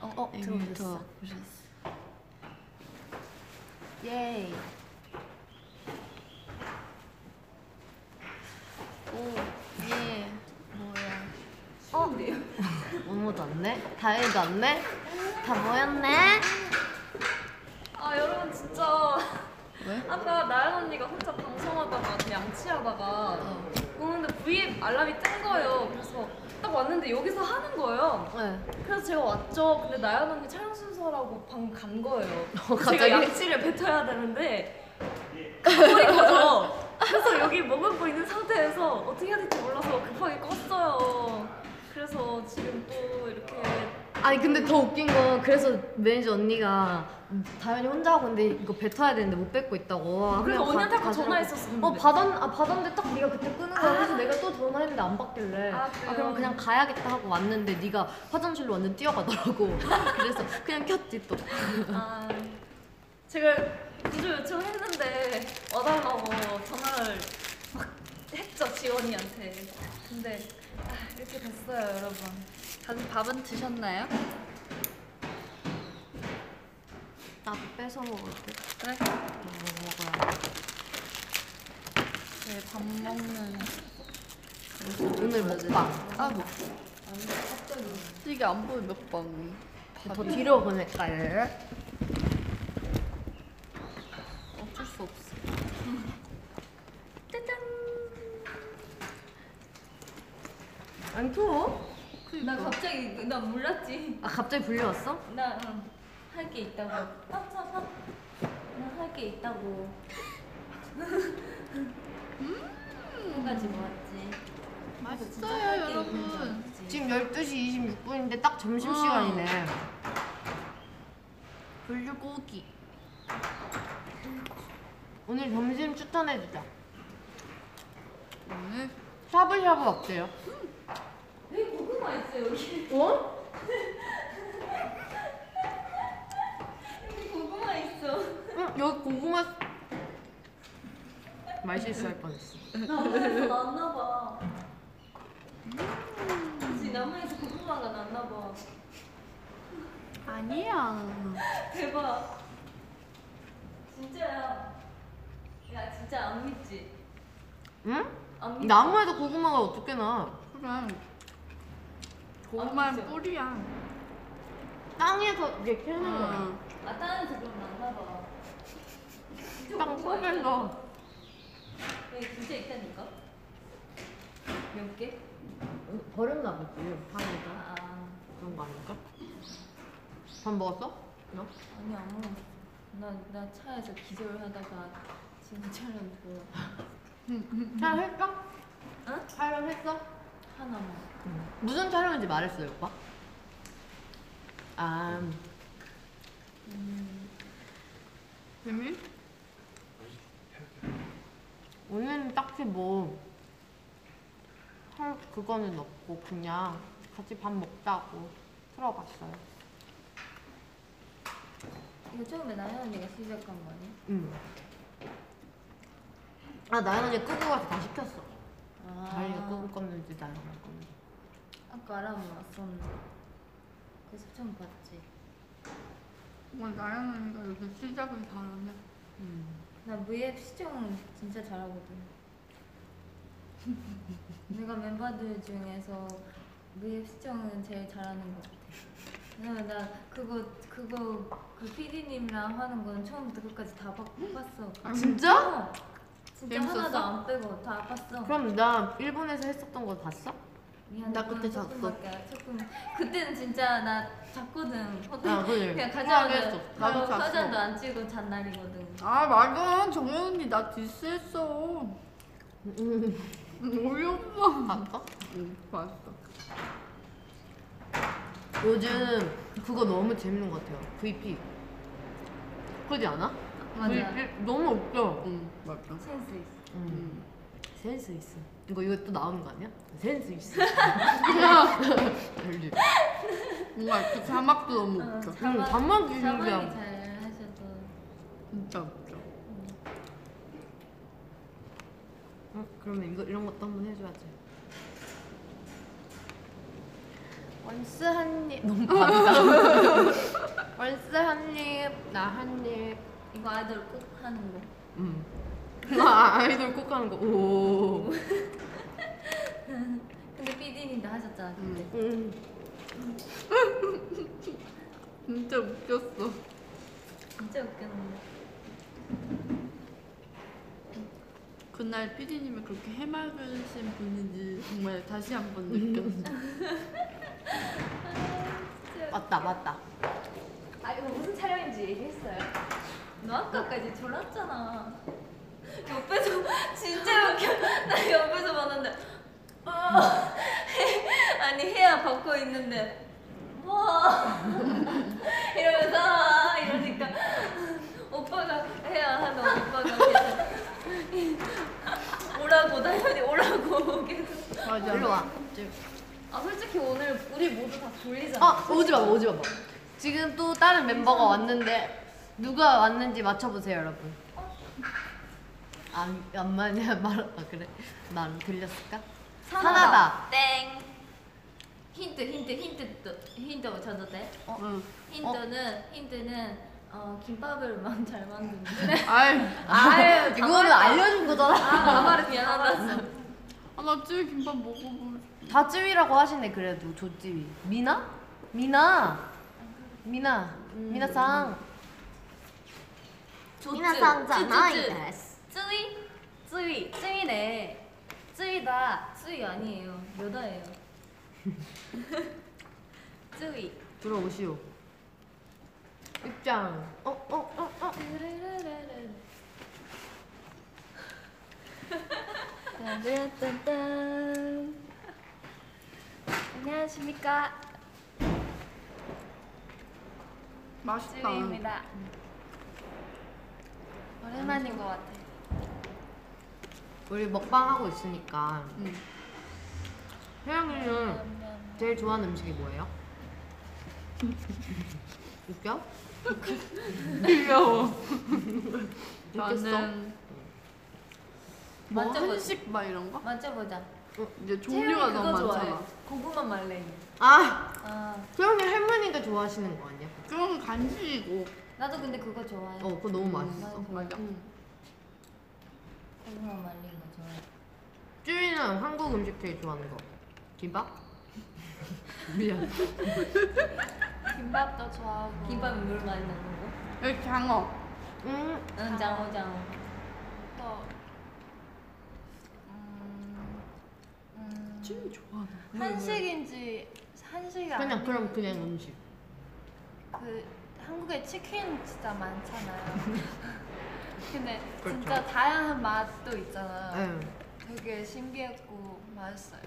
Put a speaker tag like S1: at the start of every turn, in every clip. S1: 어, 웹툰부터 보셨어. 예. 오, 예. 뭐야? 어? 원모도 안 내? 다혜도 안 내? 다 모였네?
S2: 아 여러분 진짜
S1: 왜?
S2: 아까 나연 언니가 혼자 방송하다가 좀 양치하다가
S1: 어.
S2: 오는데 V앱 알람이 뜬 거예요. 그래서 딱 왔는데 여기서 하는 거예요.
S1: 네.
S2: 그래서 제가 왔죠. 근데 나연 언니 촬영 순서라고 방금 간 거예요.
S1: 어,
S2: 제가
S1: 갑자기?
S2: 양치를 뱉어야 되는데 가버린 거죠. 그래서 여기 머금고 있는 상태에서 어떻게 해야 될지 몰라서 급하게 껐어요. 그래서 지금 또 이렇게
S1: 아니 근데 더 웃긴 건 그래서 매니저 언니가 다현이 혼자 하고 근데 이거 뱉어야 되는데 못 뱉고 있다고 그냥 가-
S2: 그래서 언니한테 아까
S1: 가지라고.
S2: 전화했었어.
S1: 어 받았 아 받았는데 딱 네가 그때 끄는 거야.
S2: 아.
S1: 그래서 내가 또 전화했는데 안 받길래.
S2: 아,
S1: 아,
S2: 그래요?
S1: 그럼 그냥 가야겠다 하고 왔는데 네가 화장실로 완전 뛰어가더라고. 그래서 그냥 켰지 또.
S2: 아, 제가 구조 요청했는데 와달라고 전화를 막 했죠 지원이한테. 근데 아, 이렇게 됐어요 여러분.
S3: 다들 밥은 드셨나요?
S1: 나도 뺏어 먹을 때.
S2: 네?
S3: 그래?
S1: 뭐 먹어야 돼.
S3: 네, 밥 먹는.
S1: 오늘 먹방.
S3: 아, 뭐. 이게 안 보여, 몇 번.
S1: 더 뒤로 보낼까요?
S3: 어쩔 수 없어.
S2: 짜잔.
S1: 안 추워?
S2: 나 갑자기 나 몰랐지.
S1: 아 갑자기 불려왔어?
S2: 나 할 게 있다고. 깜짝아. 나할 게 있다고. 끝까지 모았지.
S3: 음. 맛있어요, 여러분.
S1: 지금 12시 26분인데 딱 점심시간이네.
S3: 불고기.
S1: 오늘 점심 추천해주자.
S3: 오늘
S1: 샤브샤브 어때요?
S2: 왜 고구마 있어요 여기?
S1: 어?
S2: 여기 고구마 있어.
S1: 응, 여기 고구마. 맛있어 할 뻔했어.
S2: 나무에서 났나 봐. 그치 나무에서 고구마가 났나 봐.
S3: 아니야.
S2: 대박. 진짜야. 야 진짜 안 믿지?
S1: 응?
S2: 안 믿.
S1: 나무에도 고구마가 어떻게 나?
S3: 그래. 고구마
S2: 진짜.
S3: 뿌리야.
S1: 땅에서 이렇게 캐는 거야.
S3: 응.
S2: 아 다른 지금 났나 봐. 진짜
S1: 땅
S2: 고구마 있다니까.
S1: 속에서.
S2: 여기 네, 진짜 있다니까? 몇 개?
S1: 버렸나 보지. 방에다.
S2: 아
S1: 그런 거 아닐까? 밥 먹었어? 너?
S2: 아니 안 먹었어. 나나 차에서 기절하다가 뭐 지금 촬영 보러
S1: 촬영했어?
S2: 응?
S1: 촬영했어?
S2: 하나만. 뭐.
S1: 무슨 촬영인지 말했어요, 오빠? 아,
S3: 재미?
S1: 오늘은 딱히 뭐, 할 그거는 없고, 그냥 같이 밥 먹자고 들어갔어요.
S2: 이거 처음에 나연 언니가 시작한 거 아니야?
S1: 응. 아, 나연 언니 끄고 가서 다 시켰어.
S2: 아,
S1: 다현이가 끄고 껐는지 나연이 껐는지.
S2: 아까 알아보면 왔었는데 그래서 처음 봤지
S3: 정말 나연 언니가 요새 시작을 잘하네.
S1: 음.
S2: 나 V앱 시청 진짜 잘하거든 내가 멤버들 중에서 V앱 시청은 제일 잘하는 것 같아 왜냐면 나 그거 그거 그 PD님이랑 하는 건 처음부터 끝까지 다 봤- 봤어
S1: 진짜?
S2: 어, 진짜
S3: 재밌었어?
S2: 하나도 안 빼고 다 봤어
S1: 그럼 나 일본에서 했었던 거 봤어?
S2: 미안,
S3: 나 그때
S2: 그건
S3: 잤어.
S2: 조금밖에 안- 조금 그때는 진짜 나 잤거든. 호텔
S1: 아, 그래.
S2: 그냥
S1: 통화하게 했어.
S2: 가자도
S3: 나도
S2: 나도
S3: 잤어.
S2: 가자도 안 찍고 잔 날이거든.
S3: 아, 맞아. 정연 언니 나 디스했어. 어이없어.
S1: 봤어?
S3: 응, 봤어.
S1: 요즘 그거 너무 재밌는 것 같아요. VP. 그러지 않아?
S2: 맞아.
S1: VP 너무 웃겨.
S3: 응, 맞아.
S2: 센스 있어.
S1: 음.
S3: 응.
S1: 센스 있어. 이거 이거 또 나오는 거 아니야? 센스 있어. 알지?
S3: 뭔가 그 자막도 너무 웃겨.
S1: 응,
S2: 아, 자막-
S1: 잠만 기는
S2: 자막이
S1: 거야.
S2: 잘 하셔도
S3: 진짜 웃겨.
S1: 응, 그러면 이거 이런 것도 한번 해줘야지. 원스 한입 너무 많다. 원스 한입 나 한입.
S2: 이거 아이들 꼭 하는 거.
S1: 음. 나 아이돌 꼭 하는 거. 오.
S2: 근데 PD님도 하셨잖아. 근데.
S1: 음.
S3: 진짜 웃겼어.
S2: 진짜 웃겼는데.
S3: 그날 피디님이 그렇게 해맑으신 분인지 정말 다시 한 번 느꼈어.
S2: 아,
S1: 맞다 맞다.
S4: 아 이거 무슨 촬영인지 얘기했어요?
S2: 너 아까까지 졸았잖아. 옆에서 진짜 웃겨. 나 옆에서 봤는데. 어. 아니 해야 벗고 있는데. 와. 이러면서 아, 이러니까 오빠가 해야 하는 오빠가 계속 오라고 나현이 오라고 계속.
S3: 맞아.
S1: 일로 와.
S2: 아 솔직히 오늘 우리 모두 다 졸리잖아.
S1: 아 오지 마봐 오지 마봐. 지금 또 다른 멤버가 왔는데 누가 왔는지 맞춰보세요 여러분. 안안 맞냐 말아 그래. 난 들렸을까? 산하다.
S2: 땡. 힌트 힌트 힌트 또 힌트 뭐 줘도 돼?
S1: 어.
S3: 응.
S2: 힌트는 힌트는 어 김밥을 만 잘 만드는.
S3: 아이,
S1: 아 이거는 알려준 거잖아.
S2: 아 말해 미안하다.
S3: 아, 나 쯔위 김밥 먹어보고 싶어.
S1: 다쯔위라고 하시네 그래도 조쯔위. 미나? 미나. 미나. 미나상.
S2: 쯔위 쯔위 쯔위네. 쯔위다 쯔위 아니에요 여다예요. 쯔위.
S1: 들어오시오. 입장. 어 어 어 어.
S2: 르르르르.
S4: 딴딴딴. 안녕하십니까
S3: 맛있다.
S2: 쯔위입니다. 오랜만인 것 같아.
S1: 우리 먹방 하고 있으니까
S3: 응.
S1: 혜영이는 제일 좋아하는 음식이 뭐예요? 웃겨?
S3: 귀여워.
S1: 웃겼어?
S3: 나는 뭐
S2: 맞아, 맞아.
S3: 한식 막 이런 거?
S2: 맞춰보자.
S3: 이제 종류가
S2: 채연이
S3: 너무
S2: 그거
S3: 많잖아.
S2: 좋아해. 고구마 말랭이.
S1: 아!
S2: 아
S1: 혜영이 할머니가 좋아하시는 거 아니야?
S3: 그건 간식이고.
S2: 나도 근데 그거 좋아해.
S1: 어 그거 너무 맛있어
S3: 어, 맞아.
S2: 고구마 말린 거 좋아해.
S1: 쭈이는 한국 음식 제일 좋아하는 거 김밥? 미안
S4: 김밥도 좋아하고
S2: 김밥에 물 많이 넣는 거.
S3: 여기 장어.
S1: 음,
S2: 응 장어 장어.
S4: 또 음, 음,
S3: 쯔위 좋아하는
S4: 한식인지 한식이
S1: 그냥
S4: 아니
S1: 그럼 그냥 음식
S4: 그 한국에 치킨 진짜 많잖아요 근데
S1: 그렇죠.
S4: 진짜 다양한 맛도 있잖아
S1: 응.
S4: 되게 신기했고 맛있어요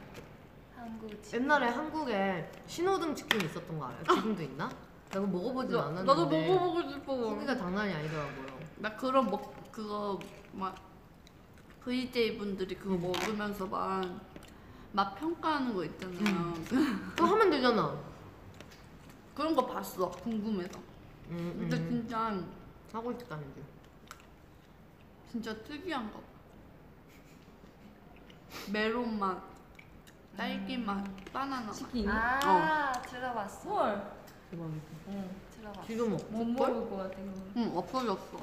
S4: 한국 치킨
S1: 옛날에 한국에 신호등 치킨 있었던 거 알아요? 지금도 있나? 나 이거 먹어보진
S3: 거.
S1: 않았는데
S3: 나도 먹어보고 싶어.
S1: 후기가 장난이 아니더라고요
S3: 나 그런 먹 그거 막 VJ 분들이
S1: 음.
S3: 그거 먹으면서 막 맛 평가하는 거 있잖아요.
S1: 음. 그거 하면 되잖아
S3: 그런 거 봤어. 궁금해서.
S1: 음,
S3: 근데
S1: 음.
S3: 진짜
S1: 하고 있다는 중
S3: 진짜 특이한 거. 메론 맛, 딸기 맛, 바나나
S1: 음.
S3: 맛.
S2: 치킨.
S4: 아 들어봤어
S2: 헐.
S1: 대박이다
S2: 응.
S4: 들어봤어
S1: 지금 먹
S2: 못 먹을 것 같아 그거.
S3: 응 음, 없어졌어.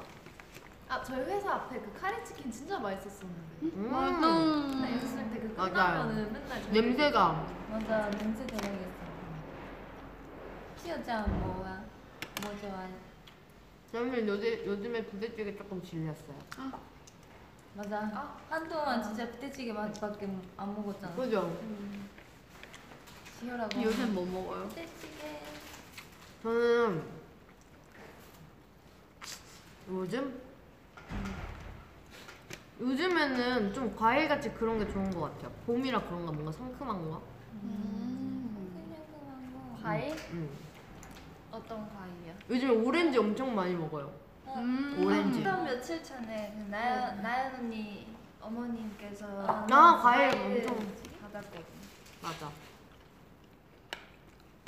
S4: 아 저희 회사 앞에 그 카레치킨 진짜 맛있었었는데
S1: 음.
S4: 나
S3: 맞아.
S4: 연습생 때그
S1: 맞아요.
S4: 끝나면은 맨날 저희
S1: 냄새가
S2: 맞아 냄새 들어야겠어. 키오짱 뭐야? 뭐 좋아해?
S1: 저는 요새 요즘에 부대찌개 조금 질렸어요.
S2: 맞아. 한동안 진짜 부대찌개 맛밖에 안 먹었잖아.
S1: 그죠?
S2: 지효라고.
S3: 요새 뭐 먹어요?
S2: 부대찌개.
S1: 저는 요즘 요즘에는 좀 과일 같이 그런 게 좋은 것 같아요. 봄이라 그런가 뭔가 상큼한 거.
S3: 음.
S2: 그냥 그만 거.
S4: 과일?
S1: 음.
S4: 어떤 과일이야?
S1: 요즘에 오렌지 엄청 많이 먹어요.
S3: 음.
S1: 오렌지.
S4: 한달 며칠 전에 그 나연, 나연 언니 어머님께서
S2: 아,
S1: 네. 아 과일
S4: 과일을
S1: 엄청
S4: 받았거든
S1: 맞아.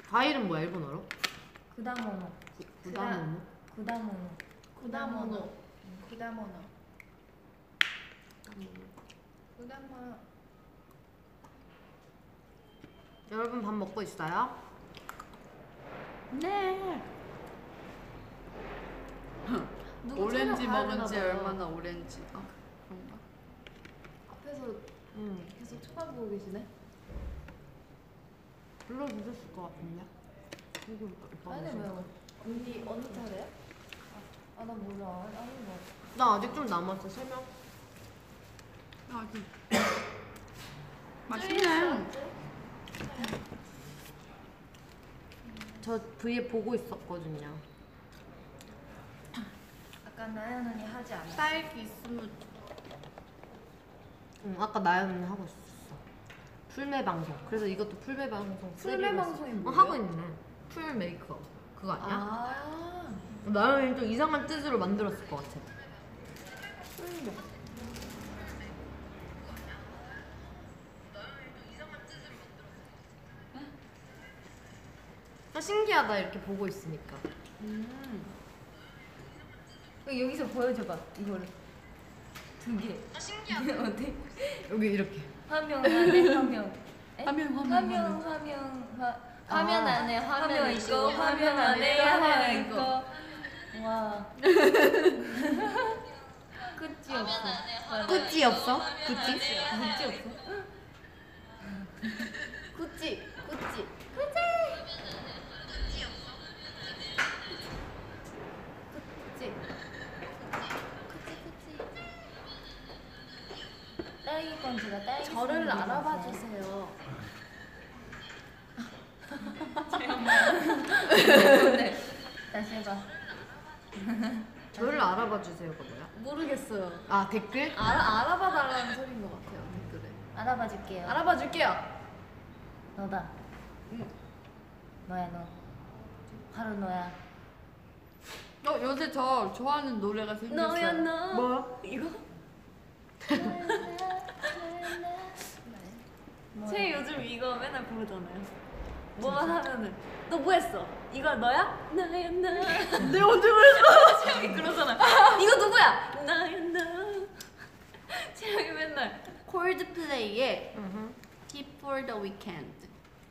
S1: 과일은 뭐야 일본어로?
S2: 그다모노.
S1: 구다모모.
S2: 그다모노.
S4: 구다모노 음, 구다모노 구다모노
S1: 여러분 밥 먹고 있어요?
S3: 네.
S4: 누구
S3: 음. 오렌지
S4: 촬영
S3: 먹은 지
S4: 봐야 되나 봐요.
S3: 얼마나 오렌지. 아, 그런가?
S4: 앞에서
S1: 응.
S4: 계속 쳐다보고 계시네.
S1: 불러주셨을 것 같은데. 누구 이거
S2: 아니
S1: 무슨-
S2: 왜요? 언니 어느 차례야? 아나 몰라 아니 뭐
S1: 나 아직 좀 남았어 세 명.
S3: 아, 그. 맛있네.
S1: 저 V에 보고 있었거든요.
S2: 아까 나연 언니 하지 않았어?
S3: 딸기 스무디.
S1: 응, 아까 나연 하고 있었어. 풀매 방송. 그래서 이것도 풀매 방송.
S2: 풀매
S1: 때리고 있어.
S2: 방송이
S1: 어,
S2: 뭐예요?
S1: 하고 있네. 풀 메이크업 그거 아니야?
S2: 아
S1: 나연이 좀 이상한 뜻으로 만들었을 것 같아. 아, 신기하다 이렇게 보고 있으니까.
S2: 여기서 보여줘봐 이거를 두개 신기하다 어때?
S1: 여기 이렇게.
S2: 화면 안에 화면 에?
S3: 화면, 화면,
S2: 화면 화면 화, 화면 안에 아. 화면 있고 화면 안에
S3: 화면
S2: 화면
S3: 있고.
S2: 있고 와 끝이 없어
S1: 꾸찌 없어? 꾸찌?
S2: 끝이 없어
S1: 꾸찌. 꾸찌.
S2: 그치? 그치 그치 딸기 건지가 딸기 저를 알아봐 주세요 네, 다시 해봐
S1: 저를 알아봐 주세요. 그 뭐야?
S4: 모르겠어요.
S1: 아 댓글?
S4: 알아 알아봐 달라는 소리인 것 같아요 댓글에.
S2: 알아봐 줄게요
S4: 알아봐 줄게요.
S2: 너다 너야 너 바로 너야
S3: 어, 요새 저 좋아하는 노래가 생겼어요.
S4: 너야 너.
S1: 뭐야?
S4: 이거
S2: 어, 뭐야?
S4: 제 요즘 이거 맨날 부르잖아요. 뭐만 하면은 너 뭐했어? 이거 너야? 나야 나. 내 언제 그랬어? 채영이 그러잖아. 이거 누구야? 나야 나. 채영이 맨날
S3: 콜드플레이의 Keep for the Weekend.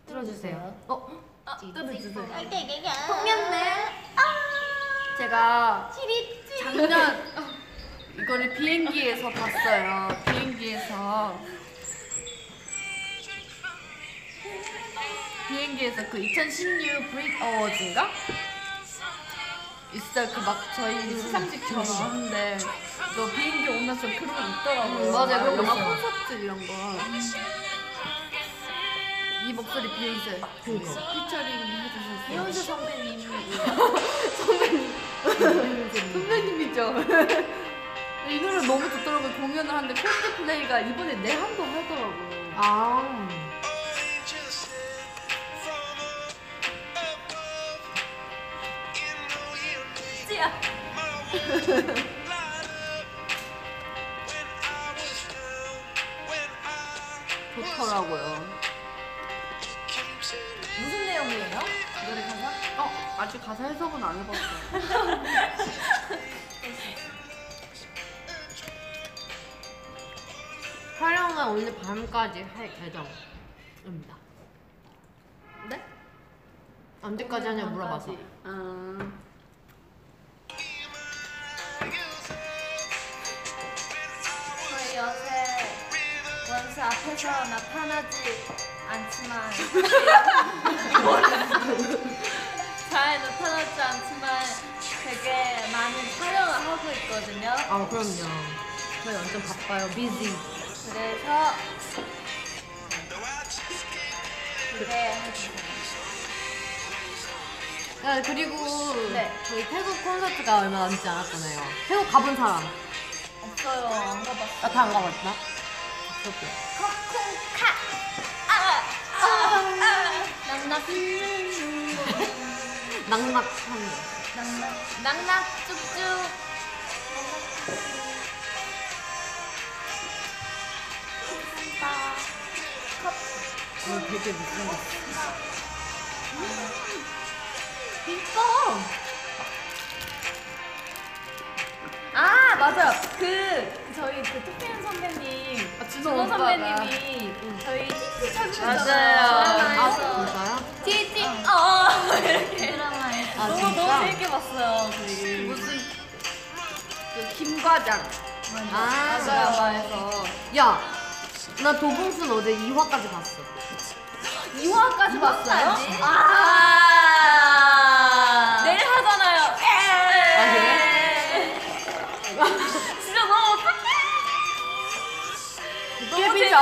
S1: 들어주세요. 어?
S4: 아 끊어주세요.
S2: 통했네
S3: 제가
S2: 치리 치리
S3: 작년 이거를 비행기에서 봤어요. 비행기에서 비행기에서 그 2016 브릿 어워즈인가? 있어요. 그 막 저희 시상식처럼 하는데 너 비행기 오면서 그런 거 있더라고요.
S1: 음, 맞아요. 그런 거
S3: 영화
S1: 있어요.
S3: 콘서트 이런 거. 이 목소리 비욘세
S1: 그니까.
S3: 피처링 해주셨어요.
S4: 이현수 선배님.
S3: 선배님이죠. 이 노래 너무 좋더라고요. 공연을 하는데 콜드플레이가 이번에 네 내한도 하더라고요.
S1: 아.
S4: 찌야.
S3: 좋더라고요.
S2: 무슨 내용이에요? 노래 가사?
S3: 어, 아직 가사 해석은 안 해봤어요.
S1: 촬영은 오늘 밤까지 할 예정입니다.
S4: 네?
S1: 언제까지 하냐 물어봐서.
S3: 아,
S2: 저희 요새 원수 앞에서 나타나지 않지만 잘 나타나지 않지만 되게 많은 촬영을 하고 있거든요.
S1: 아 그럼요. 저희 완전 바빠요. 비지.
S2: 그래서 기대해주세요.
S1: 아, 그리고
S2: 네.
S1: 저희 태국 콘서트가 얼마 남지 않았잖아요. 태국 가본 사람.
S2: 없어요. 안 가봤어.
S1: 나 다 안 가봤나? 그렇게.
S2: 커쿵카. 아, 아, 아. 낙낙.
S1: 낙낙한.
S2: 낙낙. 낙낙 쭉쭉.
S1: 거 이거 되게 무슨 거.
S2: 이뻐. 아 맞아요. 그 저희 그 특별 선배님,
S3: 아 진호
S4: 준호
S3: 오빠가
S4: 선배님이 저희 TT 찾으셨잖아요.
S1: 맞아요. 아
S2: 드라마에서.
S1: 진짜요?
S4: 아,
S2: 티티 어 이렇게.
S4: 재밌게 봤어요. 되게.
S3: 무슨 그 김과장
S1: 아,
S3: 드라마에서
S1: 야, 나 도봉순 어제 2화까지 봤어.
S4: 2화까지
S2: 봤어요?
S4: 아. 내일 하잖아요.
S1: 아,
S2: 예.
S4: 그래? 진짜 너무 어떡해. 너무
S3: 깨비죠?
S4: 재밌어요.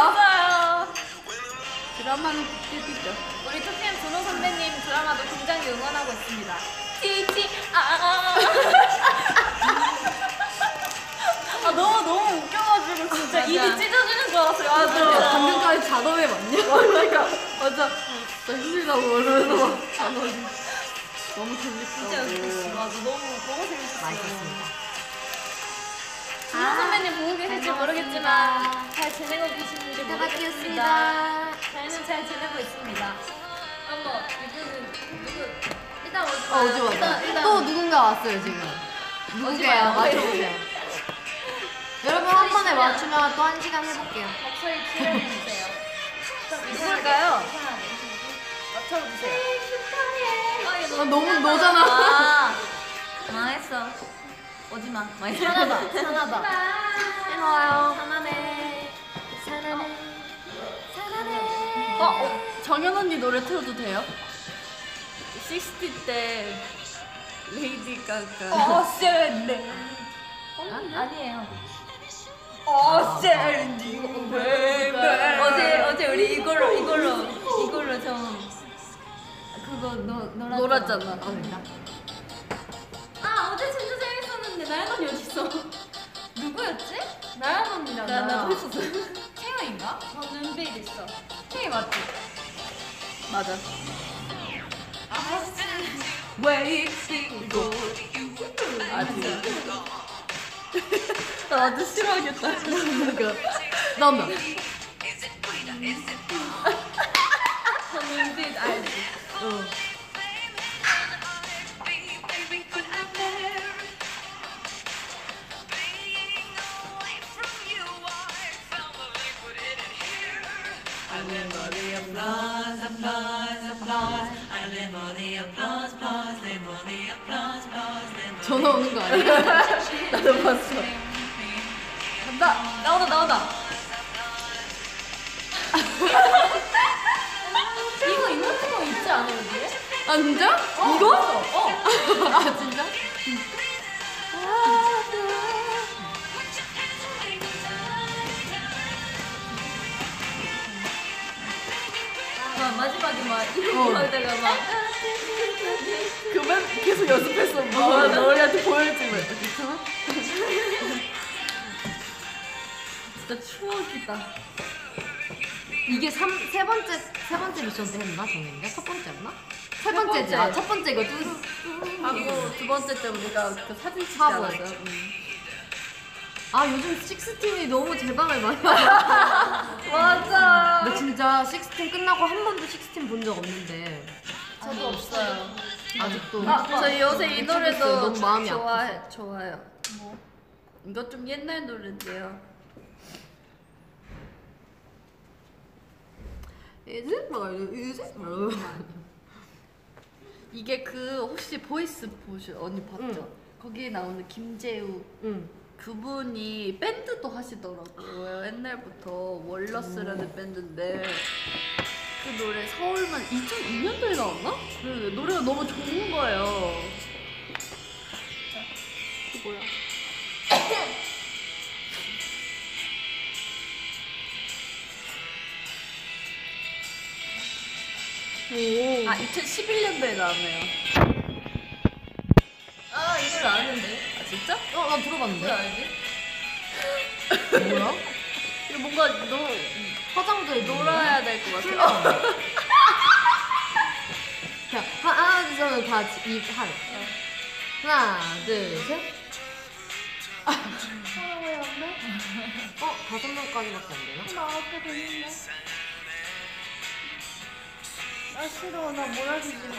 S3: 드라마는 국제비죠.
S4: 우리 투피엠 준호 선배님 드라마도 굉장히 응원하고 있습니다. 티티 아. 아 너무 너무 웃겨가지고 아, 진짜 입이 찢어지는 줄 알았어요.
S3: 야,
S4: 맞아.
S3: 방금까지 자동에 맞냐? 그러니까 맞아. 나 힘들다고 이러면서 막 자동이 너무
S4: 진짜 웃겼어.
S3: 재밌다고.
S4: 맞아 너무 너무 재밌었어.
S1: 맛있었습니다.
S4: 준호 선배님 보고 계실지
S1: 잘
S4: 모르겠지만 잘 지내고 계시는지 모르겠습니다. 저희는 잘 지내고 있습니다.
S2: 어머 이분은 누구? 일단 오지
S1: 어,
S2: 마요.
S1: 어제
S2: 일단,
S1: 왔어.
S2: 일단
S1: 또 누군가 왔어요, 지금. 누구게요? 맞춰보세요. 여러분, 한 번에 맞추면 또 한 시간 해볼게요.
S2: 목소리 출연해주세요.
S4: 누굴까요?
S2: 이상하게.
S4: 맞춰주세요.
S2: 아, 이거
S3: 아, 너무 너잖아.
S4: 아 망했어. 오지마. 망했어.
S1: 하나다, 하나다.
S4: 해봐요. 사나네.
S3: 어, 어, 정연 언니 노래 틀어도 돼요? 60 때 레이디 가가.
S4: 어, 어셀리.
S2: 아니에요.
S4: 어셀리.
S2: 어제
S4: 어제
S2: 어제 우리 이걸로 이걸로 이걸로 좀 그거 노 놀았잖아.
S3: 놀았잖아.
S1: 그러니까.
S2: 아 어제 진짜 재밌었는데 나연 언니 어디 있어? 누구였지? 나연 언니랑
S3: 나- 나도
S2: 했었어. 태영인가? 저 눈빛 있어. 태영 맞지?
S3: 맞아. 나 완전 싫어하겠다. 그러니까.
S1: 나온다.
S2: 저 어, 눈빛 아, 알지?
S1: 전화 오는 거 아니야?
S3: 나도 봤어.
S2: 음.
S3: 간다. 나온다, 나온다.
S2: 이거 있는 거 있지 않아 여기에?
S3: 아, 진짜? 이거? 어. 아, 진짜?
S2: 막 어, 마지막에 막 이런 거 하다가 막
S3: 그만 계속 연습했어. 뭐. 너희한테 보여주면. 괜찮아? 진짜 추억이다.
S1: 이게 삼, 세 번째, 세 번째 미션 때 했나? 정했냐? 첫 번째였나? 세 번째지. 아, 첫 번째 이거 뚜,
S2: 아,
S3: 하고 두 번째 때 우리가 그 사진 찍지
S1: 화보.
S3: 않았어요? 음.
S1: 아 요즘 식스팀이 너무 제방을 많이 하나
S4: 맞아.
S1: 진짜 식스팀 끝나고 한 번도 식스팀 본 적 없는데
S4: 저도 없어요.
S1: 아직도
S3: 저희 요새 이
S1: 미치겠어요.
S3: 노래도
S1: 너무 마음이
S3: 좋아해,
S1: 아파서.
S3: 좋아요. 이거 좀 옛날 노래인데요.
S1: 이제 뭐 이제 뭐
S3: 이게 그 혹시 보이스 보셔 언니 봤죠? 거기에 나오는 김재우
S1: 응.
S3: 그분이 밴드도 하시더라고요. 옛날부터 월러스라는 밴드인데 그 노래 서울만 2002년도에 나왔나? 그 노래가 너무 좋은 거예요. 이거 뭐야? 아 2011년도에 나왔네요.
S2: 아 이걸 아는데
S3: 아 진짜?
S1: 어나
S2: 이걸
S1: 들어봤는데
S2: 알지?
S1: 뭐야?
S3: 이거 뭔가 너무
S1: 화장도 해
S3: 놀아야 될 것 같아요.
S1: 그냥 하나 둘 저는 다이 한. 하나 둘 셋. 아, 어 다섯 명까지밖에 안 되나?
S4: 나 아까 됐는데. 나 싫어. 나 몰아주지 마.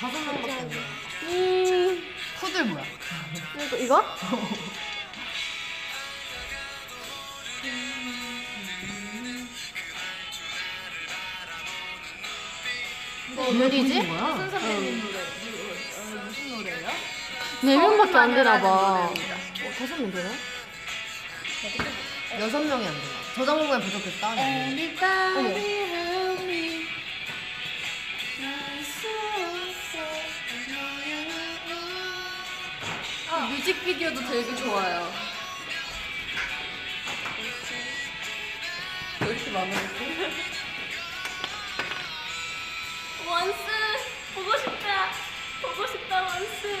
S1: 다섯 명밖에 안 되나?
S4: 음.
S1: 후들 뭐야?
S4: 이거 이거?
S1: 이거 어디지?
S2: 무슨 선배님 노래? 누구? 어,
S4: 노래예요?
S1: 네 명밖에 안
S4: 서울만을
S1: 되나 봐.
S4: 하는 노래입니다.
S1: 어, 다섯 명 되나?
S4: 네,
S1: 여섯 명이 안 되나? 저장 공간 부족했다. 어머.
S3: 아, 뮤직비디오도 되게 좋아요. 왜 이렇게 많아졌지?
S4: 원스 보고 싶다. 보고 싶다 원스.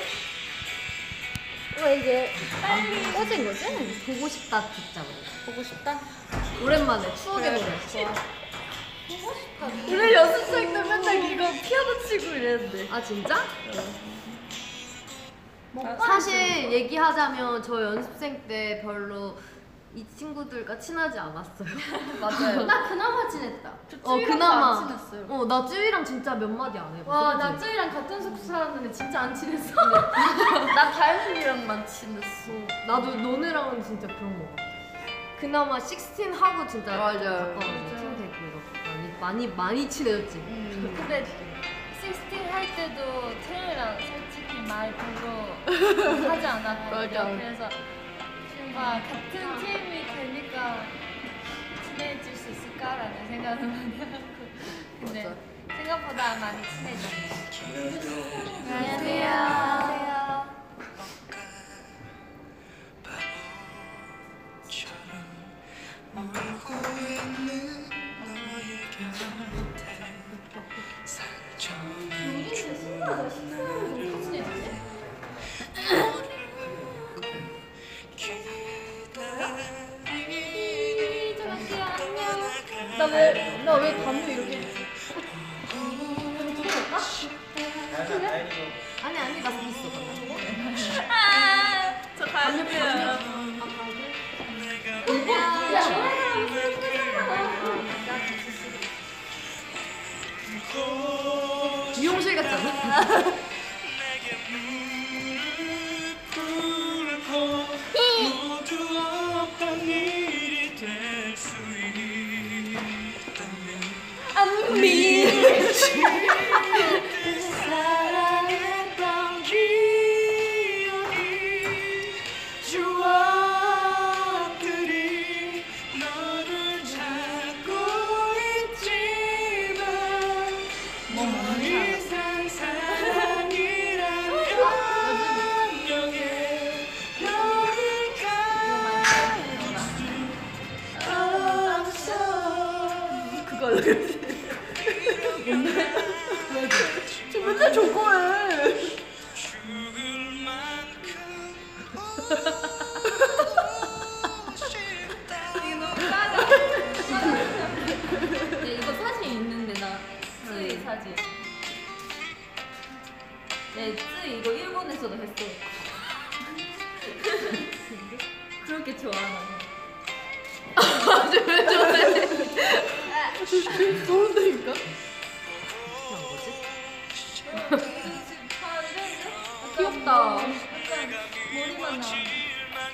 S1: 왜 이게
S4: 빨리.
S1: 꺼진 거지? 보고 싶다 듣자 우리.
S2: 보고 싶다.
S1: 오랜만에
S4: 네.
S1: 추억의 노래.
S3: 우리 연습생 때 맨날 이거 피아노 치고 이랬는데.
S1: 아 진짜?
S4: 네.
S1: 사실 얘기하자면 저 연습생 때 별로 이 친구들과 친하지 않았어요.
S3: 네.
S1: 맞아요.
S2: 나 그나마 친했다.
S1: 어 그나마
S3: 안 친했어요.
S1: 어나 쯔위랑 진짜 몇 마디 안 해봤어.
S2: 와,
S1: 그치?
S2: 나 쯔이랑 같은 숙소 살았는데 진짜 안 친했어.
S3: 나 다현이랑만 친했어.
S1: 나도 너네랑은 진짜 그런 거 같아. 그나마 16 하고 진짜
S3: 맞아요.
S1: 가까워지고 팀 되고 이렇게 많이 많이 많이 친해졌지.
S2: 근데 16할 때도 채율이랑 솔직히 말 별로 하지
S3: 맞아.
S2: 않았거든요. 그래서 와 같은 팀이 되니까 친해질 수 있을까라는 생각을 많이 하고 근데 생각보다 많이 친해졌어요. 안녕하세요. 안녕하세요.
S5: 울고 있는 너의 곁에 살점이 기다리니
S2: 안녕하세요. 안녕.
S5: 나왜나왜 밤새
S1: 아니 아니 나 거기 있어. 나.
S4: 저 다이어트예요.
S1: 미용실 같지 않아?
S5: 내게 무릎 꿇고 모두 없던 일이 될 수 있다면 그때 사랑했던 기억이 추억들이 너를 찾고 있지만 더 이상 사랑이란 감정에 너를 가둘 수 없어 죽을 만큼 울고 싶다
S4: 네, 이거 사진 있는데 나 쓰이 사진. 네, 쓰이 이거 일본에서도 했어. 그렇게 좋아하나.
S3: 귀엽다.
S4: 머리만 나.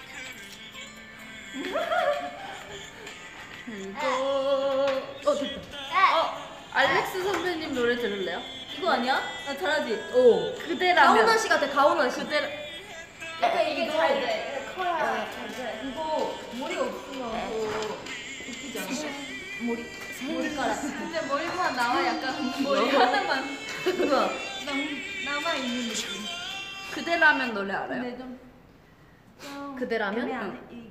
S3: 이거 어 됐다. 어 알렉스 선배님 노래 들을래요?
S4: 이거 아니야? 나 잘하지.
S3: 오 그대라면.
S1: 가오나 씨 같아 가오나 씨. 그때
S4: 약간 그러니까 이게 잘 돼. 커야 잘 돼. 이거 머리 없으면 또 웃기지 않아? 머리 머리카락.
S2: 근데 머리만 나와 약간
S4: 머리 하나만.
S1: 그거
S2: 남아 있는 느낌.
S3: 그대라면 노래 알아요?
S2: 근데 좀
S1: 그대라면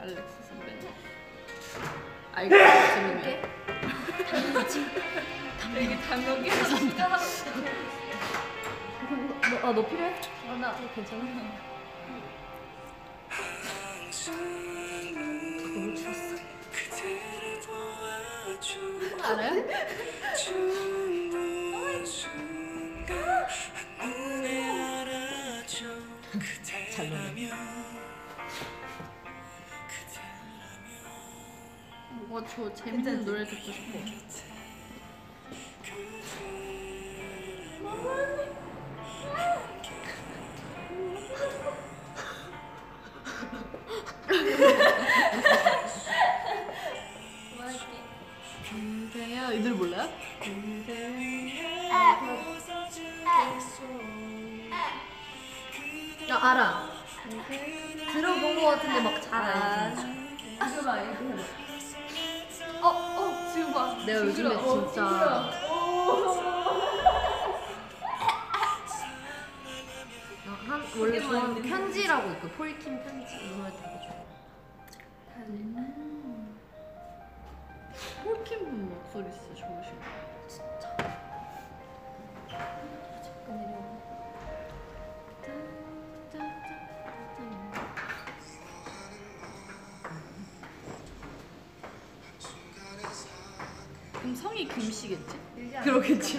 S3: 알렉스 선배님. 아, 알고 있으면
S1: 아너 필요해?
S4: 어,
S2: 워낙 괜찮아.
S5: 너무 추웠어 그대를 도와줘
S3: 알아요?
S5: 충분 순간 한눈에 알아줘 그대라면
S3: 뭔가 저 재밌는 노래 듣고 싶어.
S5: 그대
S3: 이들 몰라요?
S5: 위에
S3: 아.
S4: 어,
S1: 내가 요즘에 진짜 나 한, 원래 좋아하는 편지라고 있고 폴킴 편지 이 노래 되게 좋아
S3: 폴킴 분 목소리 진짜 좋으신 거 그럼 성이 김씨겠지? 그러겠지.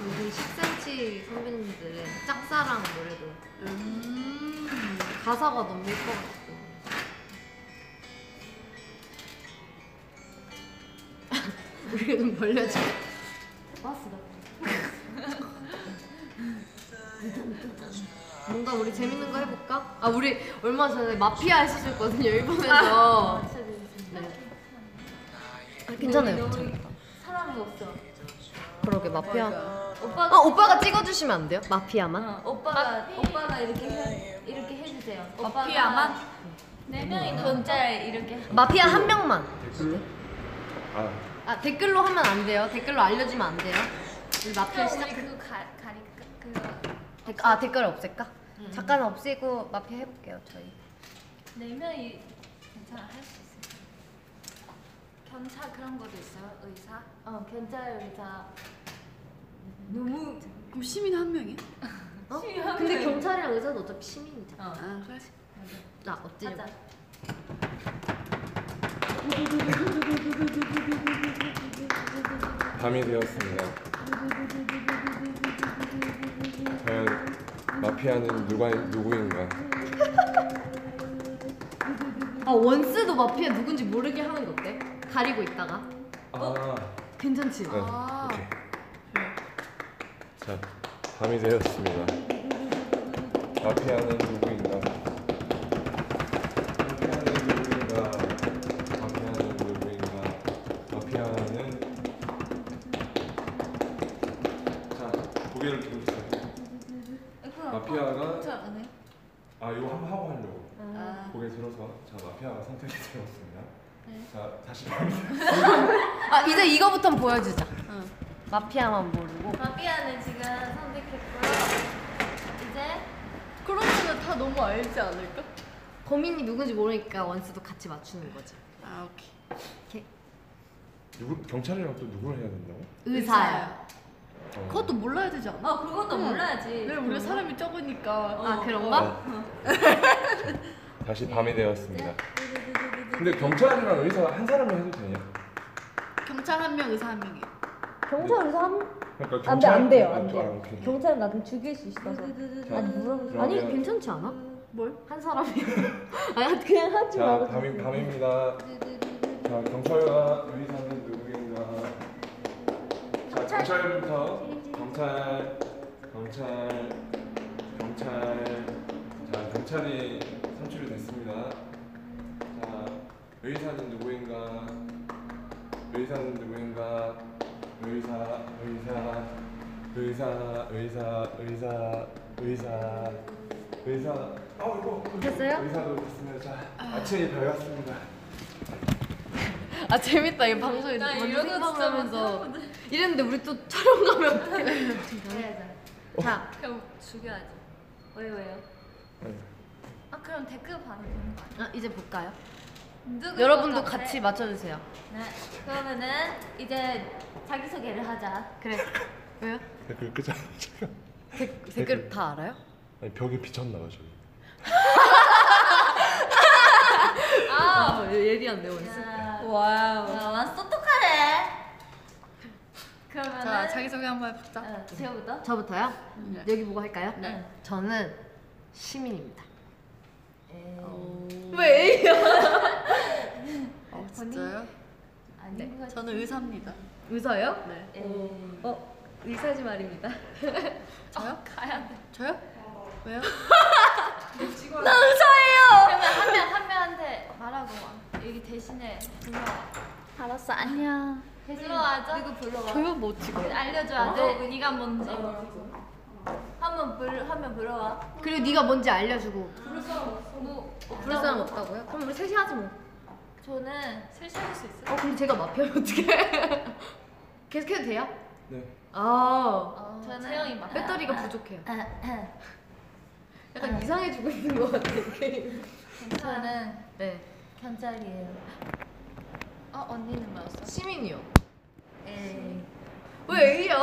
S1: 요즘 10cm 선배님들의 짝사랑 노래도
S3: 음.
S1: 가사가 너무 예뻐 가지고 우리가 좀 벌려줘 왔어 뭔가 우리 재밌는 거 해볼까? 아 우리 얼마 전에 마피아 했었거든요 일본에서 네. 아, 괜찮아요 괜찮다
S2: 사람이 없어.
S1: 그러게 마피아 네.
S3: 맞아.
S1: 아
S2: 오빠가
S1: 오빠가 찍어주시면 안 돼요? 마피아만?
S2: 어, 오빠가 오빠가 이렇게 해, 이렇게 해주세요. 오빠가
S4: 마피아만?
S2: 예. 네 명이 문자를 이렇게
S1: 마피아 한 명만
S6: 댓글로? 아
S1: 아 댓글로 하면 안 돼요. 댓글로 알려주면 안 돼요. 우리 마피아 시작.
S2: 그거 가 가리 그네
S1: 댓글, 아 댓글 없앨까? 잠깐 없애고 마피아 해볼게요 저희.
S2: 네 명이 괜찮아 할 수 있어요. 견차 그런 것도 있어요 의사? 어 견차 의사. 너무
S3: 그럼 시민 한 명이야?
S1: 어? 근데 경찰이랑 의사는 어차피 시민이잖아.
S2: 어
S3: 아 그래.
S1: 자 어찌?
S2: 맞아.
S6: 밤이 되었습니다. 과연 마피아는 누가 누구인가?
S1: 아 원스도 마피아 누군지 모르게 하는 거 어때? 가리고 있다가
S6: 아,
S1: 괜찮지?
S6: 네, 오케이. 자, 밤이 되었습니다. 마피아는 누구인가? 마피아는 누구인가? 마피아는 누구인가? 마피아는 자 고개를 들어주세요. 마피아가 아 이거 한번 하고 하려고 고개 들어서 자 마피아가 선택이 되었습니다. 자 다시
S1: 아 이제 이거부터 보여주자.
S3: 응.
S1: 마피아만 모르고.
S2: 마피아는 지금 선택했고요. 이제
S3: 그러면은 다 너무 알지 않을까?
S1: 범인이 누군지 모르니까 원스도 같이 맞추는 거지.
S3: 아 오케이.
S6: 누구 경찰이랑 또 누구를 해야 된다고?
S1: 의사야.
S6: 어.
S3: 그것도 몰라야 되지 않아?
S2: 어 그것도 몰라야지.
S3: 왜 우리 사람이 적으니까.
S1: 아 그런가?
S6: 네. 어. 다시 밤이 되었습니다.
S1: 네.
S6: 근데 경찰이랑 의사 한 사람이 해도 되냐?
S3: 그 경찰 한 명, 의사 한 명이.
S6: 경찰
S1: 의사 한
S6: 그러니까
S1: 안 돼, 안 돼요,
S6: 아,
S1: 안
S6: 아,
S1: 돼요.
S6: 오케이.
S1: 경찰은 나좀 죽일 수 있어서.
S6: 자, 그러면-
S1: 아니 괜찮지 않아?
S3: 뭘?
S1: 한 사람이 아니 그냥 하지
S6: 자
S1: 말고
S6: 밤이 밤입니다. 자 경찰과 의사는 누구인가? 자 경찰부터 예, 경찰 경찰 경찰 자 경찰이 선출이 됐습니다. 자 의사는 누구인가? 의사는 누구인가? 의사 의사 의사 의사 의사 의사 의사 어 이거
S1: 됐어요?
S6: 의사도 됐습니다. 자 아침이 밝았습니다.
S1: 아 재밌다 이 방송이
S2: 나
S1: 완전
S2: 이런 거 진짜
S1: 생방하면서 이랬는데 우리 또 촬영 가면 어떡해
S2: 그래야죠.
S1: 자
S2: 아. 그럼 죽여야지. 왜 왜요?
S6: 네,
S2: 아 그럼 댓글 봐도 되는 거 아니야?
S1: 아, 이제 볼까요?
S2: 누구
S1: 여러분도
S2: 누구
S1: 같이 맞춰주세요
S2: 네. 그러면은 이제 자기 소개를 하자.
S1: 그래 왜요?
S6: 댓글 네, 그 끄자.
S1: 댓- 댓글 다 알아요?
S6: 아니 벽에 비쳤나 봐 저기.
S1: 아 예리한데 원스
S2: 야,
S3: 와우.
S2: 야, 완전 똑똑하네. 그러면은
S3: 자 자기소개 한번 해보자.
S2: 어, 제가부터.
S1: 저부터요?
S3: 네.
S1: 여기 보고 할까요?
S3: 네.
S1: 저는 시민입니다
S3: 왜 A야? 어 진짜요?
S2: 아닌 것 같아.
S3: 저는 의사입니다.
S1: 의사요?
S3: 네.
S1: 어 의사지 말입니다
S3: 저요?
S2: 가야 돼.
S3: 저요? 왜요?
S2: 그러면 한명 한 명한테 말하고 와. 여기 대신에 불러와. 알았어 안녕. 대신 불러와줘. 누구 불러와.
S3: 저요 뭐 찍어요?
S2: 알려줘야 돼. 네가 뭔지. 한번
S4: 한번 불 하면 불러와.
S1: 그리고 네가 뭔지 알려주고.
S4: 부를 사람 없어. 뭐
S1: 부를 사람 없다고요? 그럼 우리 셋이 하지 뭐.
S4: 저는 실수할 수 있어요.
S1: 어 그럼 제가 마피아면 어떡해? 계속해도 돼요?
S6: 네.
S1: 아
S2: 저는
S4: 채영이 막.
S2: 아,
S1: 배터리가 부족해요. 약간 이상해지고 있는 것 같아 게임.
S2: 저는
S1: 네.
S2: 견자리예요. 어 언니는 뭐였어? 예,
S1: 시민이요.
S2: 에이.
S1: 왜 A야?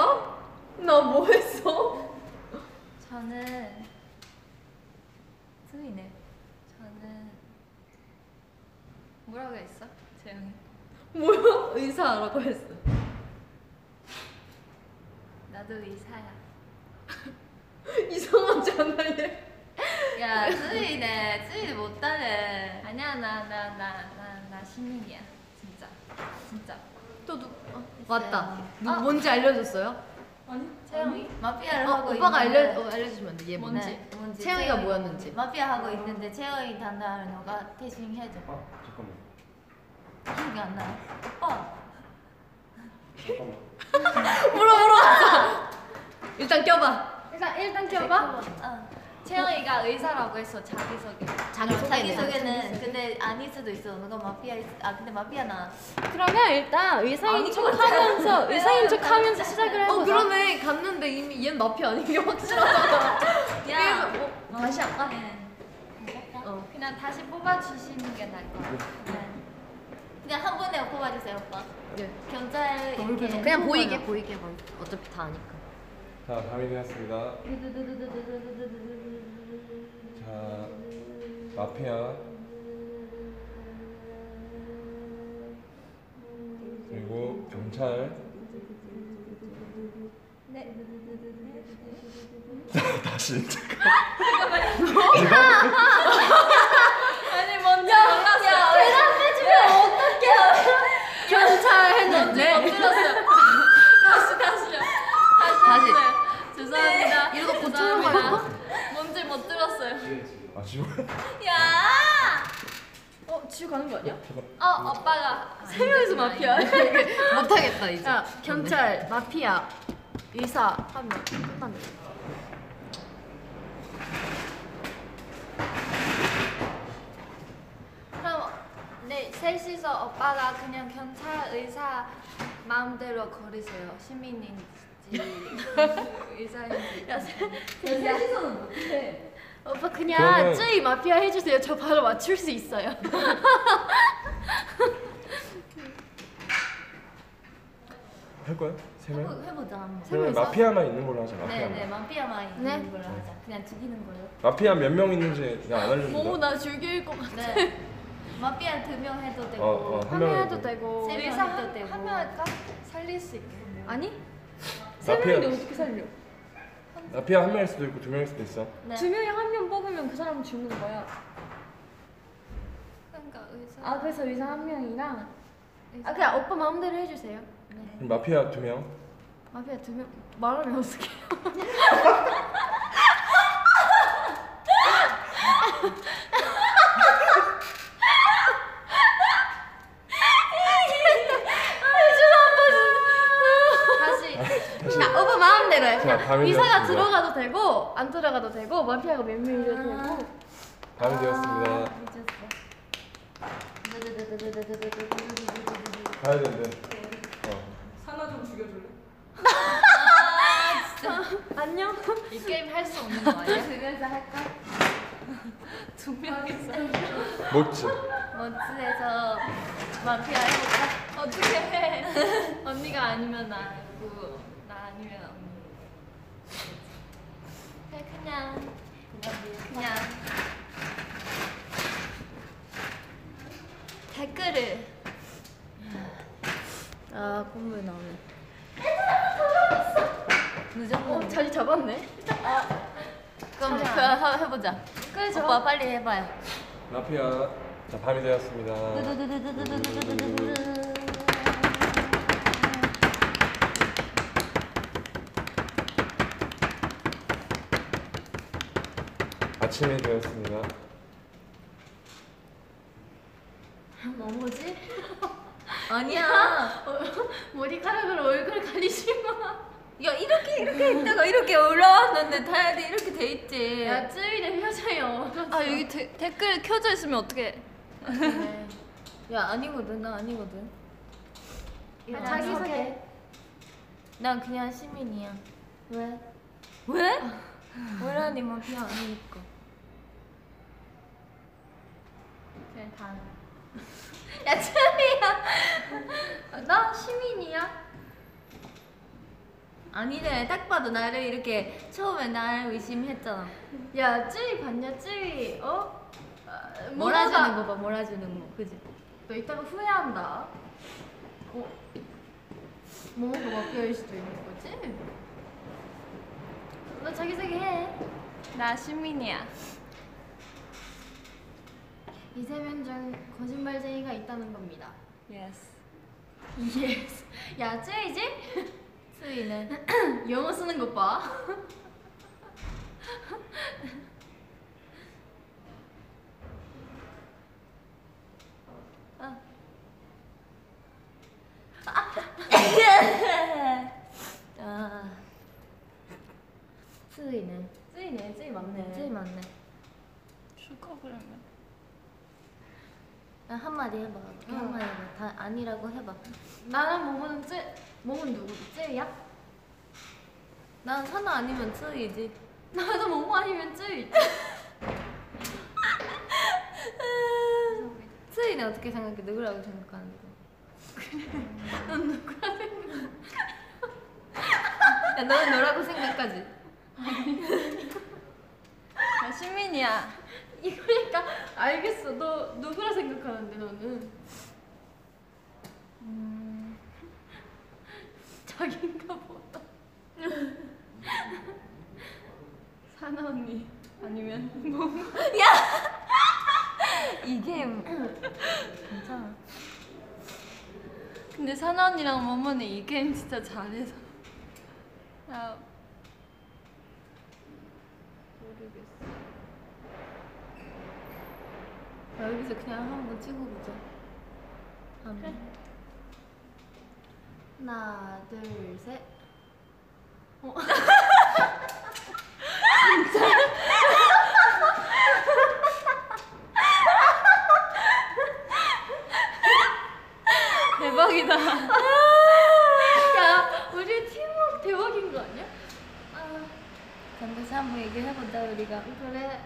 S1: 나 뭐했어?
S2: 저는 승이네. 저는 뭐라고 했어? 재영이.
S1: 뭐야? 의사라고 했어.
S2: 나도 의사야.
S1: 이상하지 않아 얘?
S2: 야, 쯔이네. 쯔이 못하네. 아니야, 나, 나, 나, 나, 나 시민이야. 진짜. 진짜.
S1: 또 누? 어, 맞다.
S4: 네.
S1: 누
S2: 아.
S1: 뭔지 알려줬어요?
S2: 채영이? 마피아를
S1: 어,
S2: 하고
S1: 오빠가
S2: 있는데.
S1: 알려 어, 알려주시면 안 돼. 얘 뭔지.
S2: 네, 뭔지. 어.
S1: 채영이가 뭐였는지.
S2: 마피아 하고 있는데 채영이 담당하는 너가 대신 해줘.
S6: 아 잠깐만.
S2: 기억이 안 나요. 오빠.
S6: 잠깐만.
S1: 물어 물어. 일단 껴봐.
S2: 일단 일단
S1: 켜봐.
S2: 어. 채영이가 의사라고 했어 자기 소개.
S1: 자기
S2: 자기
S1: 소개는.
S2: 소개는 근데 아닐 수도 있어. 누가 마피아 있- 아 근데 마피아 나.
S4: 그러면 일단 의사인 척하면서 의사인 척하면서 시작을
S1: 어 그러네. 갔는데 이미 얘는 마피 아닌 게 확실하잖아.
S2: 야.
S1: 그래서 뭐, 다시 할까?
S2: 네.
S1: 어.
S2: 그냥 어, 다시 뽑아 주시는 게 나을 것 같아. 네. 그냥 한 번에 뽑아 주세요, 오빠.
S1: 네.
S2: 견자에 이렇게
S1: 그냥 보이게 보이게 만. 어차피 다 아니까.
S6: 자 밤이 되었습니다. 자 마피아 그리고 경찰. 네. 다시 잠깐.
S2: 아니 먼저 만났어. 야, 대답해 주면 어떡해. 네.
S1: 경찰 했는데
S2: 엎드렸어요. 다시 다시요.
S1: 다시.
S2: 다시. 네. 다시. 죄송합니다.
S1: 이러다 고쳐요,
S2: 뭔지 못 들었어요.
S6: 아쉬워.
S2: 야!
S4: 어 지우 가는 거 아니야?
S2: 어, 오빠가 세
S4: 명이서 마피아.
S1: 못하겠다 이제.
S4: 자 경찰 마피아 의사 하면 끝났네.
S2: 그럼 네 셋이서 오빠가 그냥 경찰 의사 마음대로 거리세요. 시민인지 의사인지.
S4: 오빠 그냥
S6: 저는-
S4: 쯔이 마피아 해주세요. 저 바로 맞출 수 있어요.
S6: 할 거야? 세 명?
S2: 해보자 한번.
S6: 그러면 마피아만 있는 걸로 하자. 마피아.
S2: 네네
S6: 만
S2: 마피아만 있는
S4: 네?
S2: 걸로 하자. 그냥 죽이는 걸로.
S6: 마피아 몇 명 있는지 그냥 안
S4: 너무
S6: 알려준다.
S4: 나 죽일 것 같아.
S2: 네. 마피아 두 명 해도 되고.
S6: 어, 어, 한
S4: 한명
S6: 명은
S4: 해도
S6: 뭐.
S4: 되고.
S2: 세 의사 명 해도 한- 되고.
S4: 한명 할까? 살릴 수 있게. 아니? 세
S6: 마피아
S4: 명인데 어떻게 살려?
S6: 마피아 한 명일 수도 있고 두 명일 수도 있어.
S2: 네.
S4: 두 명이 한 명 뽑으면 그 사람은 죽는 거야.
S2: 그러니까 의사.
S4: 아 그래서 의사 한 명이랑 아 그냥 오빠 마음대로 해주세요.
S2: 네.
S6: 그럼 마피아 두 명.
S4: 마피아 두 명 말하면 어떡해?
S2: 다시.
S6: 다시.
S4: 아, 오빠 마음대로 해.
S6: 자,
S4: 그냥
S6: 밤이
S4: 의사가
S6: 되었습니다.
S4: 들어가도 되고 안 들어가도 되고 마피아가 몇 명이라도 되고.
S6: 아, 밤이 되었습니다.
S2: 아,
S6: 가야 되는데. 어.
S4: 안녕.
S2: 이 게임 할 수 없는 거 아니야?
S4: 두 명이서.
S6: 멋지.
S2: 먼츠에서 마피아 해볼까? 어떻게 해? 언니가 아니면 나고 나 아니면 언니. 그냥 그냥 그냥 댓글을
S4: 아 콧물 나오네.
S2: 늦었는데.
S4: 자리 잡았네.
S2: 아, 그럼 그 해보자. 그래 좋아. 오빠 빨리 해봐요.
S6: 마피아. 자 밤이 되었습니다. 아침이 되었습니다.
S4: 뭐 뭐지?
S2: 아니야.
S4: 머리카락으로 얼굴 가리지 마.
S2: 야 이렇게 이렇게 있다가 이렇게 올라왔는데 다이어트 이렇게 돼 있지.
S4: 야 쯔위네 펴져요
S2: 아 여기 데- 댓글 켜져 있으면 어떡해 네. 야 아니거든 나 아니거든
S4: 아, 자기소개
S2: 난 그냥 시민이야
S4: 왜? 아,
S2: 왜? 왜라니 뭐 그냥 아니니까 그래 다음 야 쯔미야 아, 나 시민이야 아니네 딱 봐도 나를 이렇게 처음에 날 의심했잖아
S4: 야 쯔위 봤냐 쯔위 어? 아,
S2: 몰아주는
S4: 뭐라가-
S2: 거봐 몰아주는 거 그지?
S4: 너 이따가 후회한다 어? 뭐가 마피아일 수도 있는 거지? 너 자기소개 해
S2: 나 시민이야
S4: 이세면 중 거짓말쟁이가 있다는 겁니다
S2: 예스
S4: 예스 야 쯔위지?
S2: 수이는
S4: 영어 쓰는 것봐
S2: 아. 쓰이네. 쓰이네. 쓰이 맞네. 쓰이 맞네.
S3: 축하 그러면.
S2: 나 한마디 해봐.
S4: 응.
S2: 한마디 해봐. 다 아니라고 해봐.
S4: 나랑 몸은 쯔 몸은 누구지? 쯔위야?
S2: 난 사나 아니면 쓰이지.
S4: 나도 몸 아니면 쯔위
S2: 쓰이는 어떻게 생각해? 누구라고 생각하는데? 그래. 넌 누구라고 생각해? 야, 너는 너라고 생각하지? 나 시민이야.
S4: 이거니까 알겠어. 너 누구라 생각하는데 너는? 음. 자기인가 보다. 사나 언니 아니면 뭐?
S2: 이게 괜찮아. 근데 사나 언니랑 모모는 이 게임 진짜 잘해서. 나 모르겠어. 나 여기서 그냥 한번 찍어보자. 그래.
S4: 하나 둘 셋.
S2: 어. 대박이다.
S4: 야 우리 팀워크 대박인 거 아니야?
S2: 잠시 한번 얘기해보자 우리가.
S4: 그래.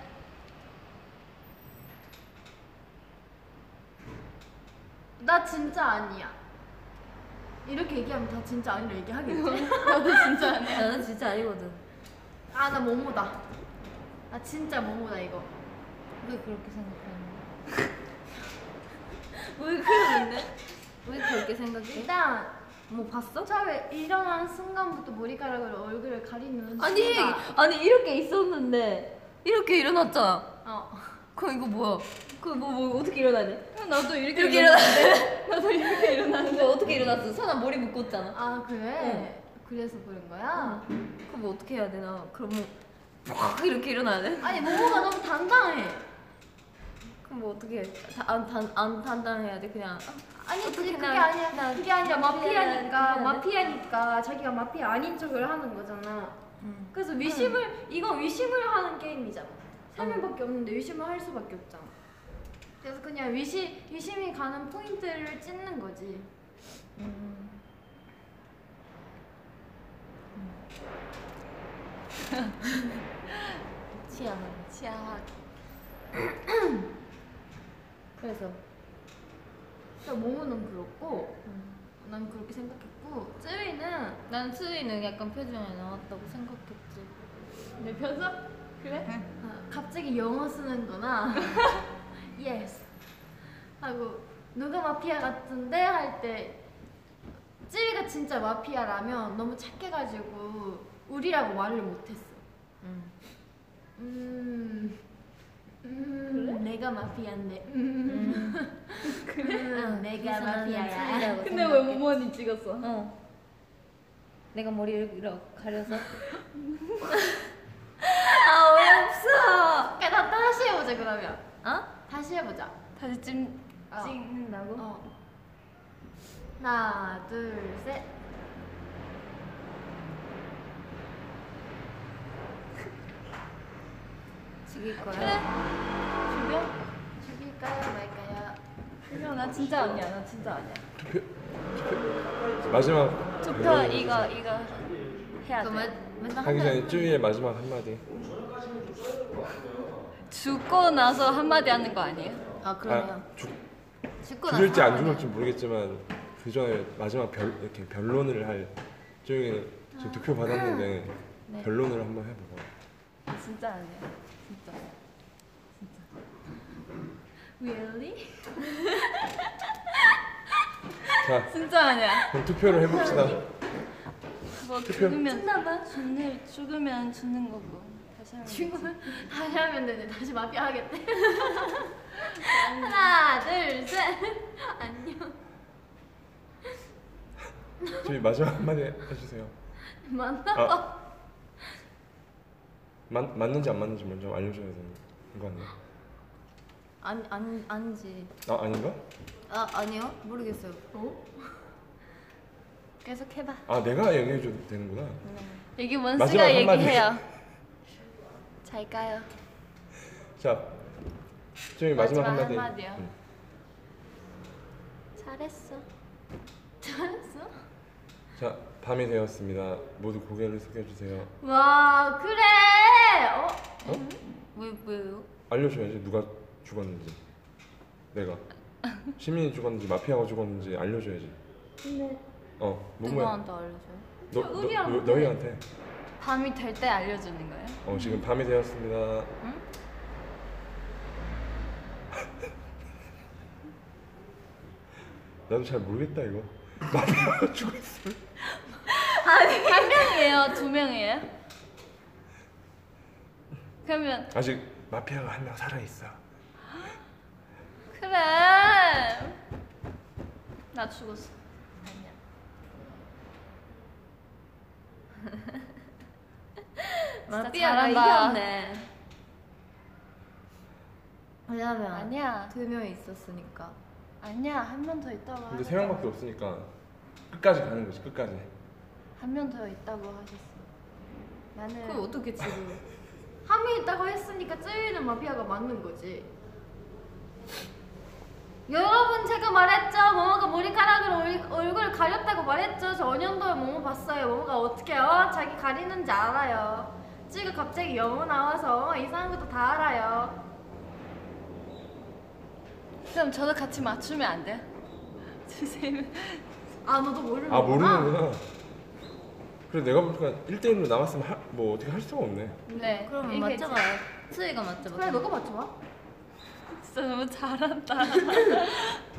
S4: 나 진짜 아니야. 이렇게 얘기하면 다 진짜 아니라 얘기하겠지?
S2: 나는 진짜 아니거든.
S4: 아 나 모모다. 나 진짜 모모다 이거.
S2: 왜 그렇게 생각하는 거야? 왜 그러는데? 왜 그렇게 생각해?
S4: 일단
S2: 뭐 봤어?
S4: 처음에 일어난 순간부터 머리카락으로 얼굴을 가리는
S2: 아니
S4: 순간.
S2: 아니 이렇게 있었는데 이렇게 일어났잖아.
S4: 어
S2: 그럼 이거 뭐야? 그뭐 뭐, 어떻게 일어나냐?
S4: 나도 이렇게
S2: 이렇게 일어났는데 나도 이렇게 일어났는데 어떻게 일어났어? 사나 머리 묶었잖아.
S4: 아 그래 그래서 그런 거야
S2: 그럼 뭐 어떻게 해야 되나? 그럼 뭐팍 이렇게 일어나야 돼?
S4: 아니 모모가 너무 당당해
S2: 그럼 뭐 어떻게 안단안 단단해야 돼 그냥
S4: 아니 그게
S2: 어떻게
S4: 그게
S2: 나-
S4: 아니야
S2: 나
S4: 그게 아니라
S2: 어떻게 해야 돼? 어떻게
S4: 마피아니까
S2: 해야 돼?
S4: 마피아니까 자기가 마피아 아닌 척을 하는 거잖아 그래서 위심을 이거 위심을 하는 게임이잖아
S2: 어.
S4: 세 명밖에 없는데 위심을 할 수밖에 없잖아 그래서 그냥 위시 위심이 가는 포인트를 찢는 거지
S2: 음. 치아 치아 그래서
S4: 그러니까 모모는 그렇고
S2: 음.
S4: 난 그렇게 생각했고 쯔위는
S2: 난 수위는 약간 표정에 나왔다고 생각했지.
S4: 내 편서? 네, 그래?
S2: 네.
S4: 아, 갑자기 영어 쓰는 거나 yes 하고 누가 마피아 같은데 할 때 찌리가 진짜 마피아라면 너무 착해가지고 우리라고 말을 못했어
S2: 음.
S4: 음, 음 내가 마피아인데 음,
S2: 응,
S4: 내가 마피아야.
S2: 근데 왜 모모니 찍었어? 어. 내가 머리를 이렇게 가려서. 아
S4: 그러니까 나 다시 해보자 그러면
S2: 어렵어. 어?
S4: 다시 해보자
S2: 다시 찜
S4: 어.
S2: 찍는다고?
S4: 어. 하나 둘셋
S2: 죽일까요?
S4: 죽여?
S2: 죽일까요 말까요?
S4: 죽여? 나 진짜 아니야. 나 진짜 아니야.
S6: 마지막
S4: 조카 이거 이거 해야 돼.
S2: 그만
S4: 맨날
S6: 하기
S4: 한마디.
S6: 전에 쭈이의 마지막 한마디
S4: 죽고 나서 한마디 하는 거 아니에요?
S2: 아 그러네요.
S6: 아, 죽,
S2: 죽고 나서
S6: 죽을지 안
S2: 한마디.
S6: 죽을지 모르겠지만 그 전에 마지막 별, 이렇게 변론을 할 쭈이는 지금 득표 받았는데
S4: 네.
S6: 변론을 한번 해보고
S4: 아, 진짜 아니야. 진짜. 진짜. Really?
S6: 자
S4: 진짜 아니야.
S6: 그럼 투표를 해봅시다
S4: 뭐
S6: 투표.
S4: 죽으면 죽는 죽으면 죽는 거고. 다시 하면 죽으면
S7: 다시 하면 되네. 다시 마피아 하겠대.
S4: 하나 둘 셋. 안녕.
S6: 쭈이 마지막 한마디 해주세요
S4: 어, 만나.
S6: 아,
S4: 어.
S6: 맞, 맞는지 안 맞는지 먼저 알려줘야 되는 거 아니에요?
S2: 안안 안지.
S6: 아 아닌가?
S2: 아 아니요 모르겠어요.
S1: 네.
S4: 계속 해봐.
S6: 아 내가 얘기해줘도 되는구나
S4: 여기
S6: 마지막
S4: 원스가
S6: 한마디.
S4: 얘기해요. 잘 가요.
S6: 자 쭈이 마지막,
S4: 마지막
S6: 한마디 음.
S4: 한마디요?
S6: 응.
S4: 잘했어.
S6: 자 밤이 되었습니다 모두 고개를 숙여주세요
S7: 와 그래. 어?
S4: 왜 왜요?
S6: 알려줘야지 누가 죽었는지 내가 시민이 죽었는지 마피아가 죽었는지 알려줘야지
S4: 근데
S6: 어 뭐뭐야
S4: 누구한테 알려줘요?
S6: 너, 너, 너, 너희한테
S4: 밤이 될 때 알려주는 거예요?
S6: 어 지금 밤이 되었습니다 나도 잘 모르겠다 이거 마피아가 죽었어
S4: 한 명이에요? 두 명이에요? 그러면
S6: 아직 마피아가 한 명 살아있어
S4: 그래 나 죽었어 아니야 진짜
S7: 마피아가
S4: 잘한다.
S7: 이겼네.
S2: 왜냐면
S4: 아니야
S2: 두명 있었으니까.
S4: 아니야 한 명 더 있다고
S6: 근데 세 명밖에 없으니까 끝까지 가는 거지 끝까지
S4: 한명 더 있다고 하셨어 나는
S2: 그럼 어떻게 지금? 함이 있다고 했으니까 쯔위는 마피아가 맞는 거지.
S7: 여러분 제가 말했죠. 모모가 머리카락으로 얼, 얼굴 가렸다고 말했죠. 저 언연도에 모모 봤어요. 모모가 어떻게 요 자기 가리는지 알아요. 지금 갑자기 영어 나와서 이상한 것도 다 알아요.
S4: 그럼 저도 같이 맞추면 안 돼요? 주세요
S7: 아 너도 모르는
S6: 아 모르는구나 그래 내가 보니까 1대1로 남았으면 하, 뭐 어떻게 할 수가 없네
S4: 네
S2: 그러면
S4: 이게
S2: 맞춰봐요. 쯔위가 맞춰봐.
S7: 그래 너가 맞춰봐.
S4: 진짜 너무 잘한다.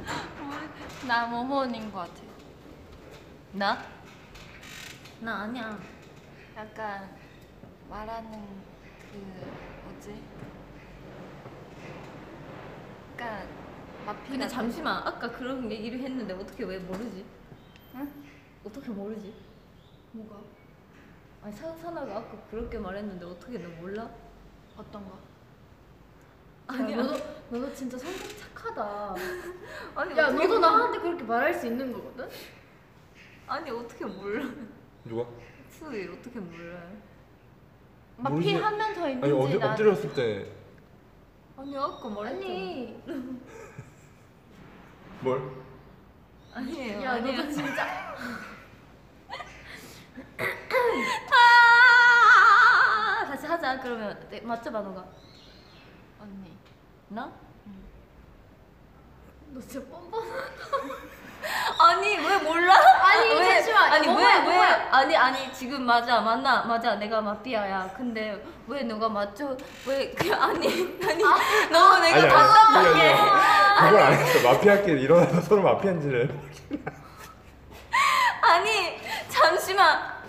S4: 나 모모인 것 같아.
S2: 나? 나 아니야.
S4: 약간 말하는 그 뭐지? 약간 마피.
S2: 근데 잠시만 아까 그런 얘기를 했는데 어떻게 왜 모르지?
S4: 응?
S2: 어떻게 모르지?
S4: 뭐가?
S2: 아니 사- 사나가 아까 그렇게 말했는데 어떻게 너 몰라?
S4: 어떤 거?
S2: 아니야.
S7: 너도 너도 진짜 성격 착하다.
S2: 아니
S7: 야
S2: 어떻게
S7: 너도
S2: 몰라?
S7: 나한테 그렇게 말할 수 있는 거거든.
S2: 아니 어떻게 몰라?
S6: 누가?
S2: 수이 어떻게 몰라?
S4: 마피
S6: 모르지.
S4: 한 명 더
S6: 아니
S4: 있는지
S6: 어디,
S4: 나.
S6: 엎드렸을 때
S2: 아니 아까 말했잖아.
S7: 아니
S6: 뭘?
S2: 아니. 에요
S7: 야
S2: 아니에요.
S7: 너도 진짜
S2: 아! 다시 하자. 그러면 네, 맞춰봐 너가.
S4: 언니.
S2: 나?
S7: 너 진짜 뻔뻔.
S2: 아니 왜 몰라?
S7: 아니
S2: 왜?
S7: 잠시만.
S2: 아니
S7: 야,
S2: 왜
S7: 뭐야,
S2: 왜?
S7: 뭐야.
S2: 아니 아니 지금 맞아 맞나 맞아 내가 마피아야. 근데 왜 너가 맞춰? 왜 그, 아니 아니 너무 내가
S6: 아니,
S2: 답답해.
S6: 아니, 아니, 아니. 그걸 안 했어. 마피아끼리 일어나서 서로 마피아인지를.
S2: 아니 잠시만.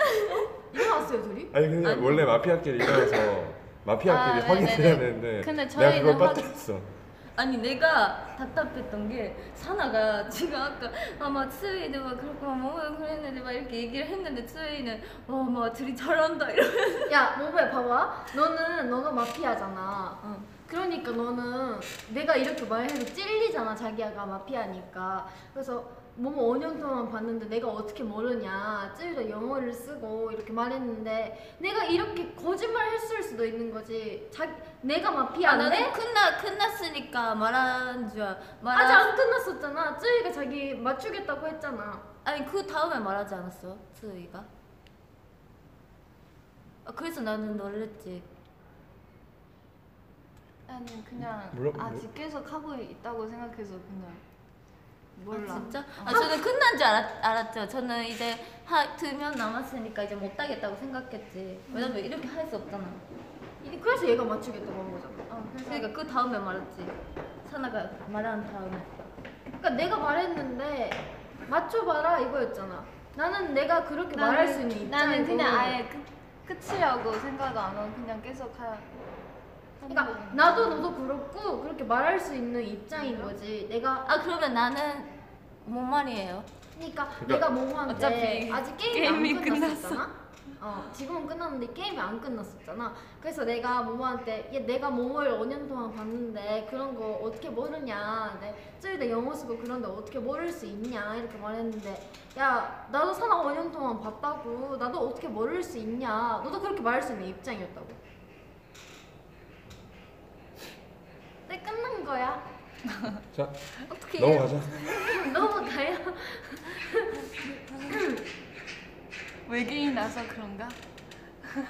S7: 일어났어요 둘이?
S6: 아니 근데
S2: 아니.
S6: 원래 마피아끼리 일어나서 마피아끼리
S4: 아,
S6: 확인해야
S4: 네네네.
S6: 되는데
S4: 근데
S6: 내가 그걸
S4: 저희는
S6: 빠뜨렸어.
S2: 아니 내가 답답했던 게 사나가 지금 아까 아마 츠웨이는 막 그렇고 막 뭐, 그랬는데 막 이렇게 얘기를 했는데 츠웨이는 와막 둘이 잘한다 이러면서
S7: 야 모모야 봐봐. 너는 너가 마피아잖아.
S4: 어.
S2: 응.
S7: 그러니까 너는 내가 이렇게 말해도 찔리잖아 자기야가 마피아니까. 그래서 뭐뭐 5년 동안 봤는데 내가 어떻게 모르냐 쯔위도 영어를 쓰고 이렇게 말했는데 내가 이렇게 거짓말 했을 수도 있는 거지 자 내가
S2: 아,
S7: 마피아인데
S2: 나는 끝나 끝났으니까 말한 줄 알- 말한
S7: 아직 안 끝났었잖아 쯔위가 자기 맞추겠다고 했잖아
S2: 아니 그 다음에 말하지 않았어 쯔이가 아, 그래서 나는 놀랬지
S4: 나는 그냥
S6: 물론-
S4: 아직 계속 하고 있다고 생각해서 그냥 몰라. 어.
S2: 아, 진짜? 아, 저는 끝난 줄 알았, 알았죠. 저는 이제 두명 남았으니까 이제 못 따겠다고 생각했지. 왜냐면 이렇게 할 수 없잖아.
S7: 이- 그래서 얘가 맞추겠다고 한 거잖아
S4: 어, 그래서
S2: 그러니까 그 다음에 말했지. 사나가 말한 다음에.
S7: 그러니까 내가 말했는데 맞춰봐라 이거였잖아 나는 내가 그렇게
S4: 나는-
S7: 말할 수 있는 입장이고
S4: 나는 그냥 아예 끝, 끝이라고 생각 안 하고 그냥 계속 하. 하는
S7: 그러니까
S4: 거니까.
S7: 나도 너도 그렇고 그렇게 말할 수 있는 입장인 거지 내가
S2: 아 그러면 나는 뭔 말이에요?
S7: 그러니까,
S6: 그러니까
S7: 내가 모모한테
S2: 어차피
S7: 아직 게임이,
S2: 게임이
S7: 안 끝났었잖아. 어 지금은 끝났는데 게임이 안 끝났었잖아. 그래서 내가 모모한테 얘 내가 모모를 5년 동안 봤는데 그런 거 어떻게 모르냐. 내 쯔위대 영어 쓰고 그런데 어떻게 모를 수 있냐 이렇게 말했는데 야 나도 사나 5년 동안 봤다고 나도 어떻게 모를 수 있냐. 너도 그렇게 말할 수 있는 입장이었다고. 근데 끝난 거야.
S6: 자
S7: 어떻게
S6: 넘어가자.
S7: 너무 가요.
S4: 외계인이라서 그런가?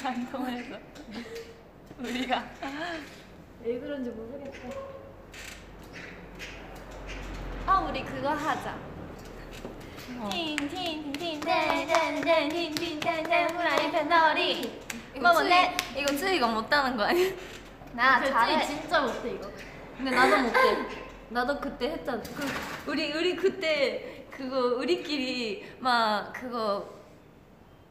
S4: 안 통해서 우리가
S7: 왜 그런지 모르겠어.
S4: 아 우리 그거 하자. 틴틴틴틴
S2: 땡땡땡땡땡땡 후라이팬 놀이. 이거
S4: 이거
S2: 못해? 이거 쯔이가 못하는 거 아니야?
S4: 나 잘해.
S7: 진짜 못해 이거.
S2: 근데 나도 못해. 나도 그때 했잖아. 그, 우리 우리 그때 그거 우리끼리 막 그거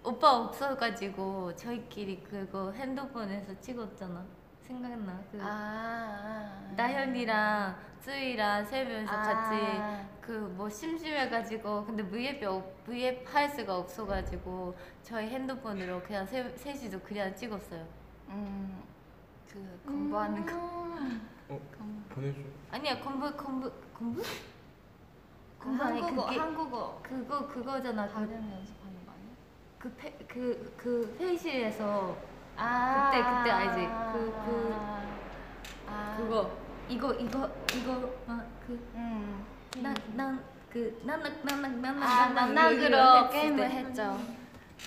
S2: 오빠 없어가지고 저희끼리 그거 핸드폰에서 찍었잖아. 생각나? 그
S4: 아,
S2: 나현이랑 쯔이랑 세 명이서
S4: 아.
S2: 같이 그 뭐 심심해가지고 근데 VF 없- VF 할 수가 없어가지고 저희 핸드폰으로 그냥 세, 셋이서 그냥 찍었어요.
S4: 음, 그
S2: 음,
S4: 공부하는 거.
S6: 보내줘.
S2: 아니야 건부 건부 건부
S4: 그
S2: 건부하는
S4: 한국어
S2: 그게-
S4: 한국어
S2: 그거 그거잖아 그
S4: 발음 연습하는 거 아니야?
S2: 그, 페, 그, 그 회의실에서
S4: 아,
S2: 그때, 그때 알지? 그- 그-
S4: 아,
S2: 그거 이거 이거 이거 막그난난그 그,
S4: 음,
S2: 난낙 난낙 난낙
S4: 아,
S2: 난낙
S4: 난낙으로
S2: 이렇게 했을 때.
S4: 게임을 했죠.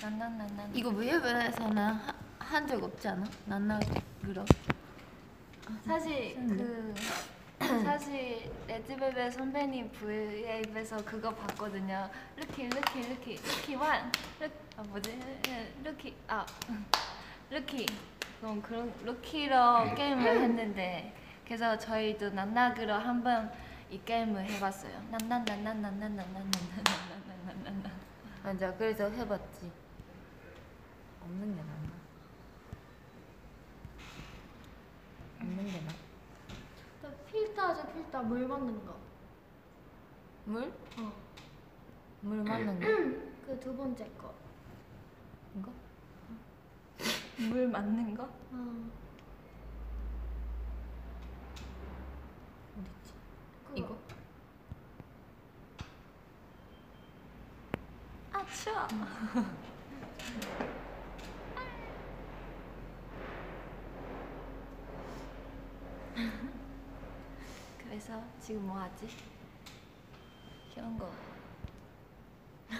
S4: 난난난난.
S2: 이거 위협에서는 한 적 없지 않아? 난낙으로
S4: 사실 그 사실 레드벨벳 선배님 V앱에서 그거 봤거든요. 루키 루키 루키 루키 완 루키 아 뭐지 루키 아 루키 그럼 그런 루키로 게임을 했는데 그래서 저희도 난나그로 한번 이 게임을 해봤어요. 난난난난난난난난난난난난난
S2: 맞아 그래서 해봤지 없는 게 낫나 없는 게 낫.
S7: 나 필터 하자 필터 물 맞는 거.
S2: 물?
S7: 어.
S2: 물 맞는 거?
S7: 그 두 번째 거.
S2: 이거?
S4: 물 맞는 거?
S7: 어.
S2: 어딨지?
S7: 그거.
S2: 이거?
S4: 아 추워. 그래서 지금 뭐 하지? 귀여운 거.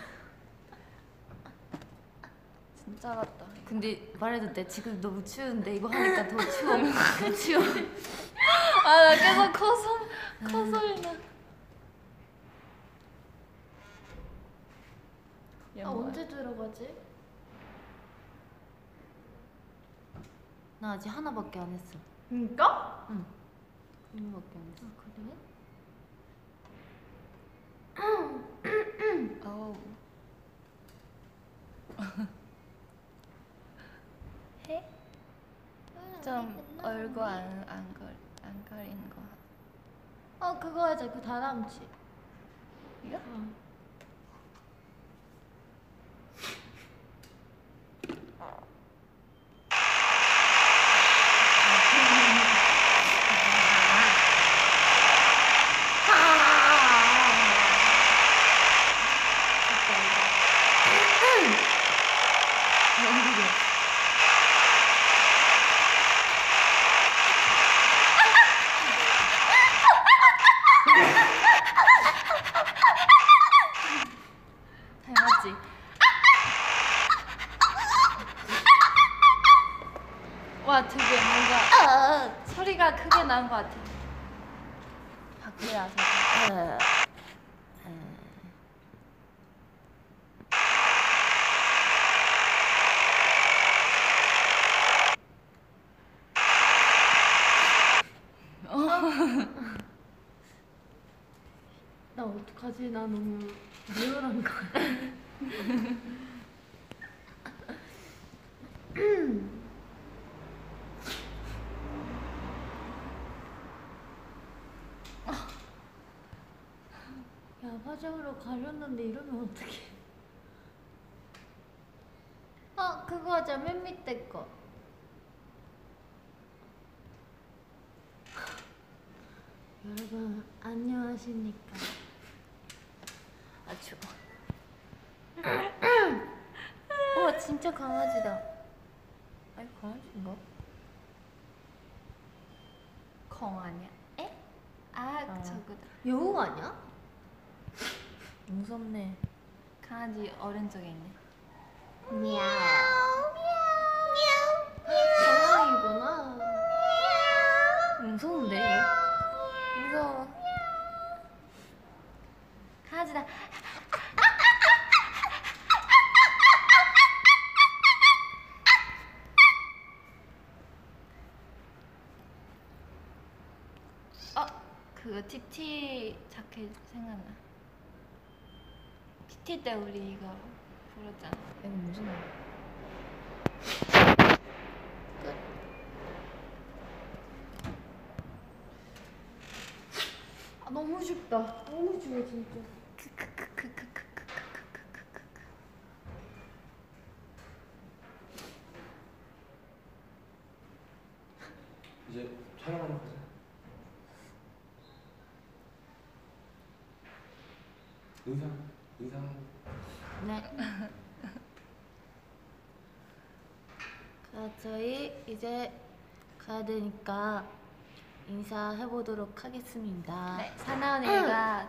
S4: 진짜 같다.
S2: 근데 말해도 돼. 지금 너무 추운데 이거 하니까 더 추워.
S4: 그
S2: 더 추워. 아, 나 계속 커서
S4: 커서이나.
S7: 아 언제 들어가지?
S2: 나 아직 하나밖에 안 했어.
S7: 그니까?
S2: 하나밖에 안 했어. 그래?
S4: 어우. 해?
S2: 음,
S4: 좀 얼굴 안안걸안 가리는 거.
S7: 어 그거 하자 그 다람쥐.
S4: 이거?
S7: 아,
S2: 소리가 크게 나은 것 같아요. 밖에 나서.
S1: 나 어떡하지? 나 너무 리얼한 거야. 야, 화장으로 가렸는데 이러면 어떡해. 어, 그거 하자. 맨 밑에 거. 여러분, 안녕하십니까?
S2: 아 추워. 우와 진짜 강아지다. 아니 강아지인가? 콩 아니야? 에? 아 저거다.
S1: 여우 아니야?
S2: 무섭네. 강아지 어른 쪽에 있네.
S1: 고양이구나.
S2: 무서운데 이거? 무서워. 강아지다. 어, 그거 TT 자켓 생각나. PT 때 우리 이거 불었잖아.
S1: 이거 무슨 말? 끝. 아 너무 춥다. 너무 추워 진짜.
S8: 이제 촬영하러 가자. 인상, 인상.
S1: 자, 저희 이제 가야 되니까 인사해 보도록 하겠습니다.
S2: 네, 사나운이가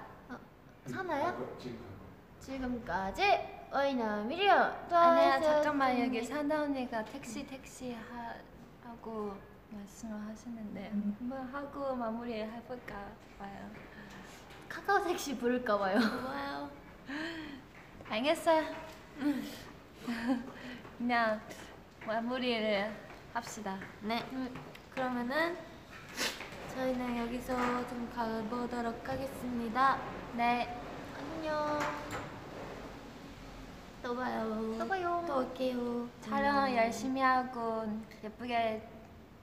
S1: 사나야?
S8: 지금 갈 거야.
S1: 지금까지 와이나미리오.
S2: 아니야 잠깐만 여기
S1: 음.
S2: 산다 언니가 택시 택시 하, 하고 말씀을 하시는데
S1: 음.
S2: 한번 하고 마무리 해볼까 봐요
S1: 카카오 택시 부를까 봐요.
S2: 와우 알겠어요 그냥 마무리를 합시다 네 그러면은 저희는 여기서 좀 가보도록 하겠습니다 네 안녕 또 봐요
S1: 또 봐요.
S2: 또 올게요. 음. 촬영 열심히 하고 예쁘게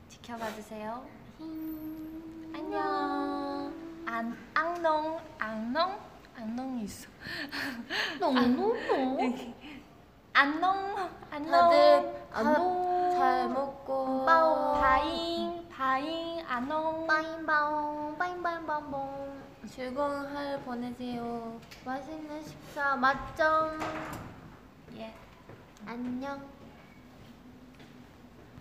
S2: 지켜봐 주세요. 음. 안녕. 안 앙농 앙농 앙농이 있어. 아,
S1: 너무
S2: 안농 안농.
S1: 다들
S2: 안농.
S1: 안농.
S2: 잘 먹고.
S1: 빠옹.
S2: 바잉 바잉 안농.
S1: 빠잉바옹 빠잉바잉바옹
S2: 즐거운 하루 보내세요.
S1: 맛있는 식사 맛점
S2: 예.
S1: 안녕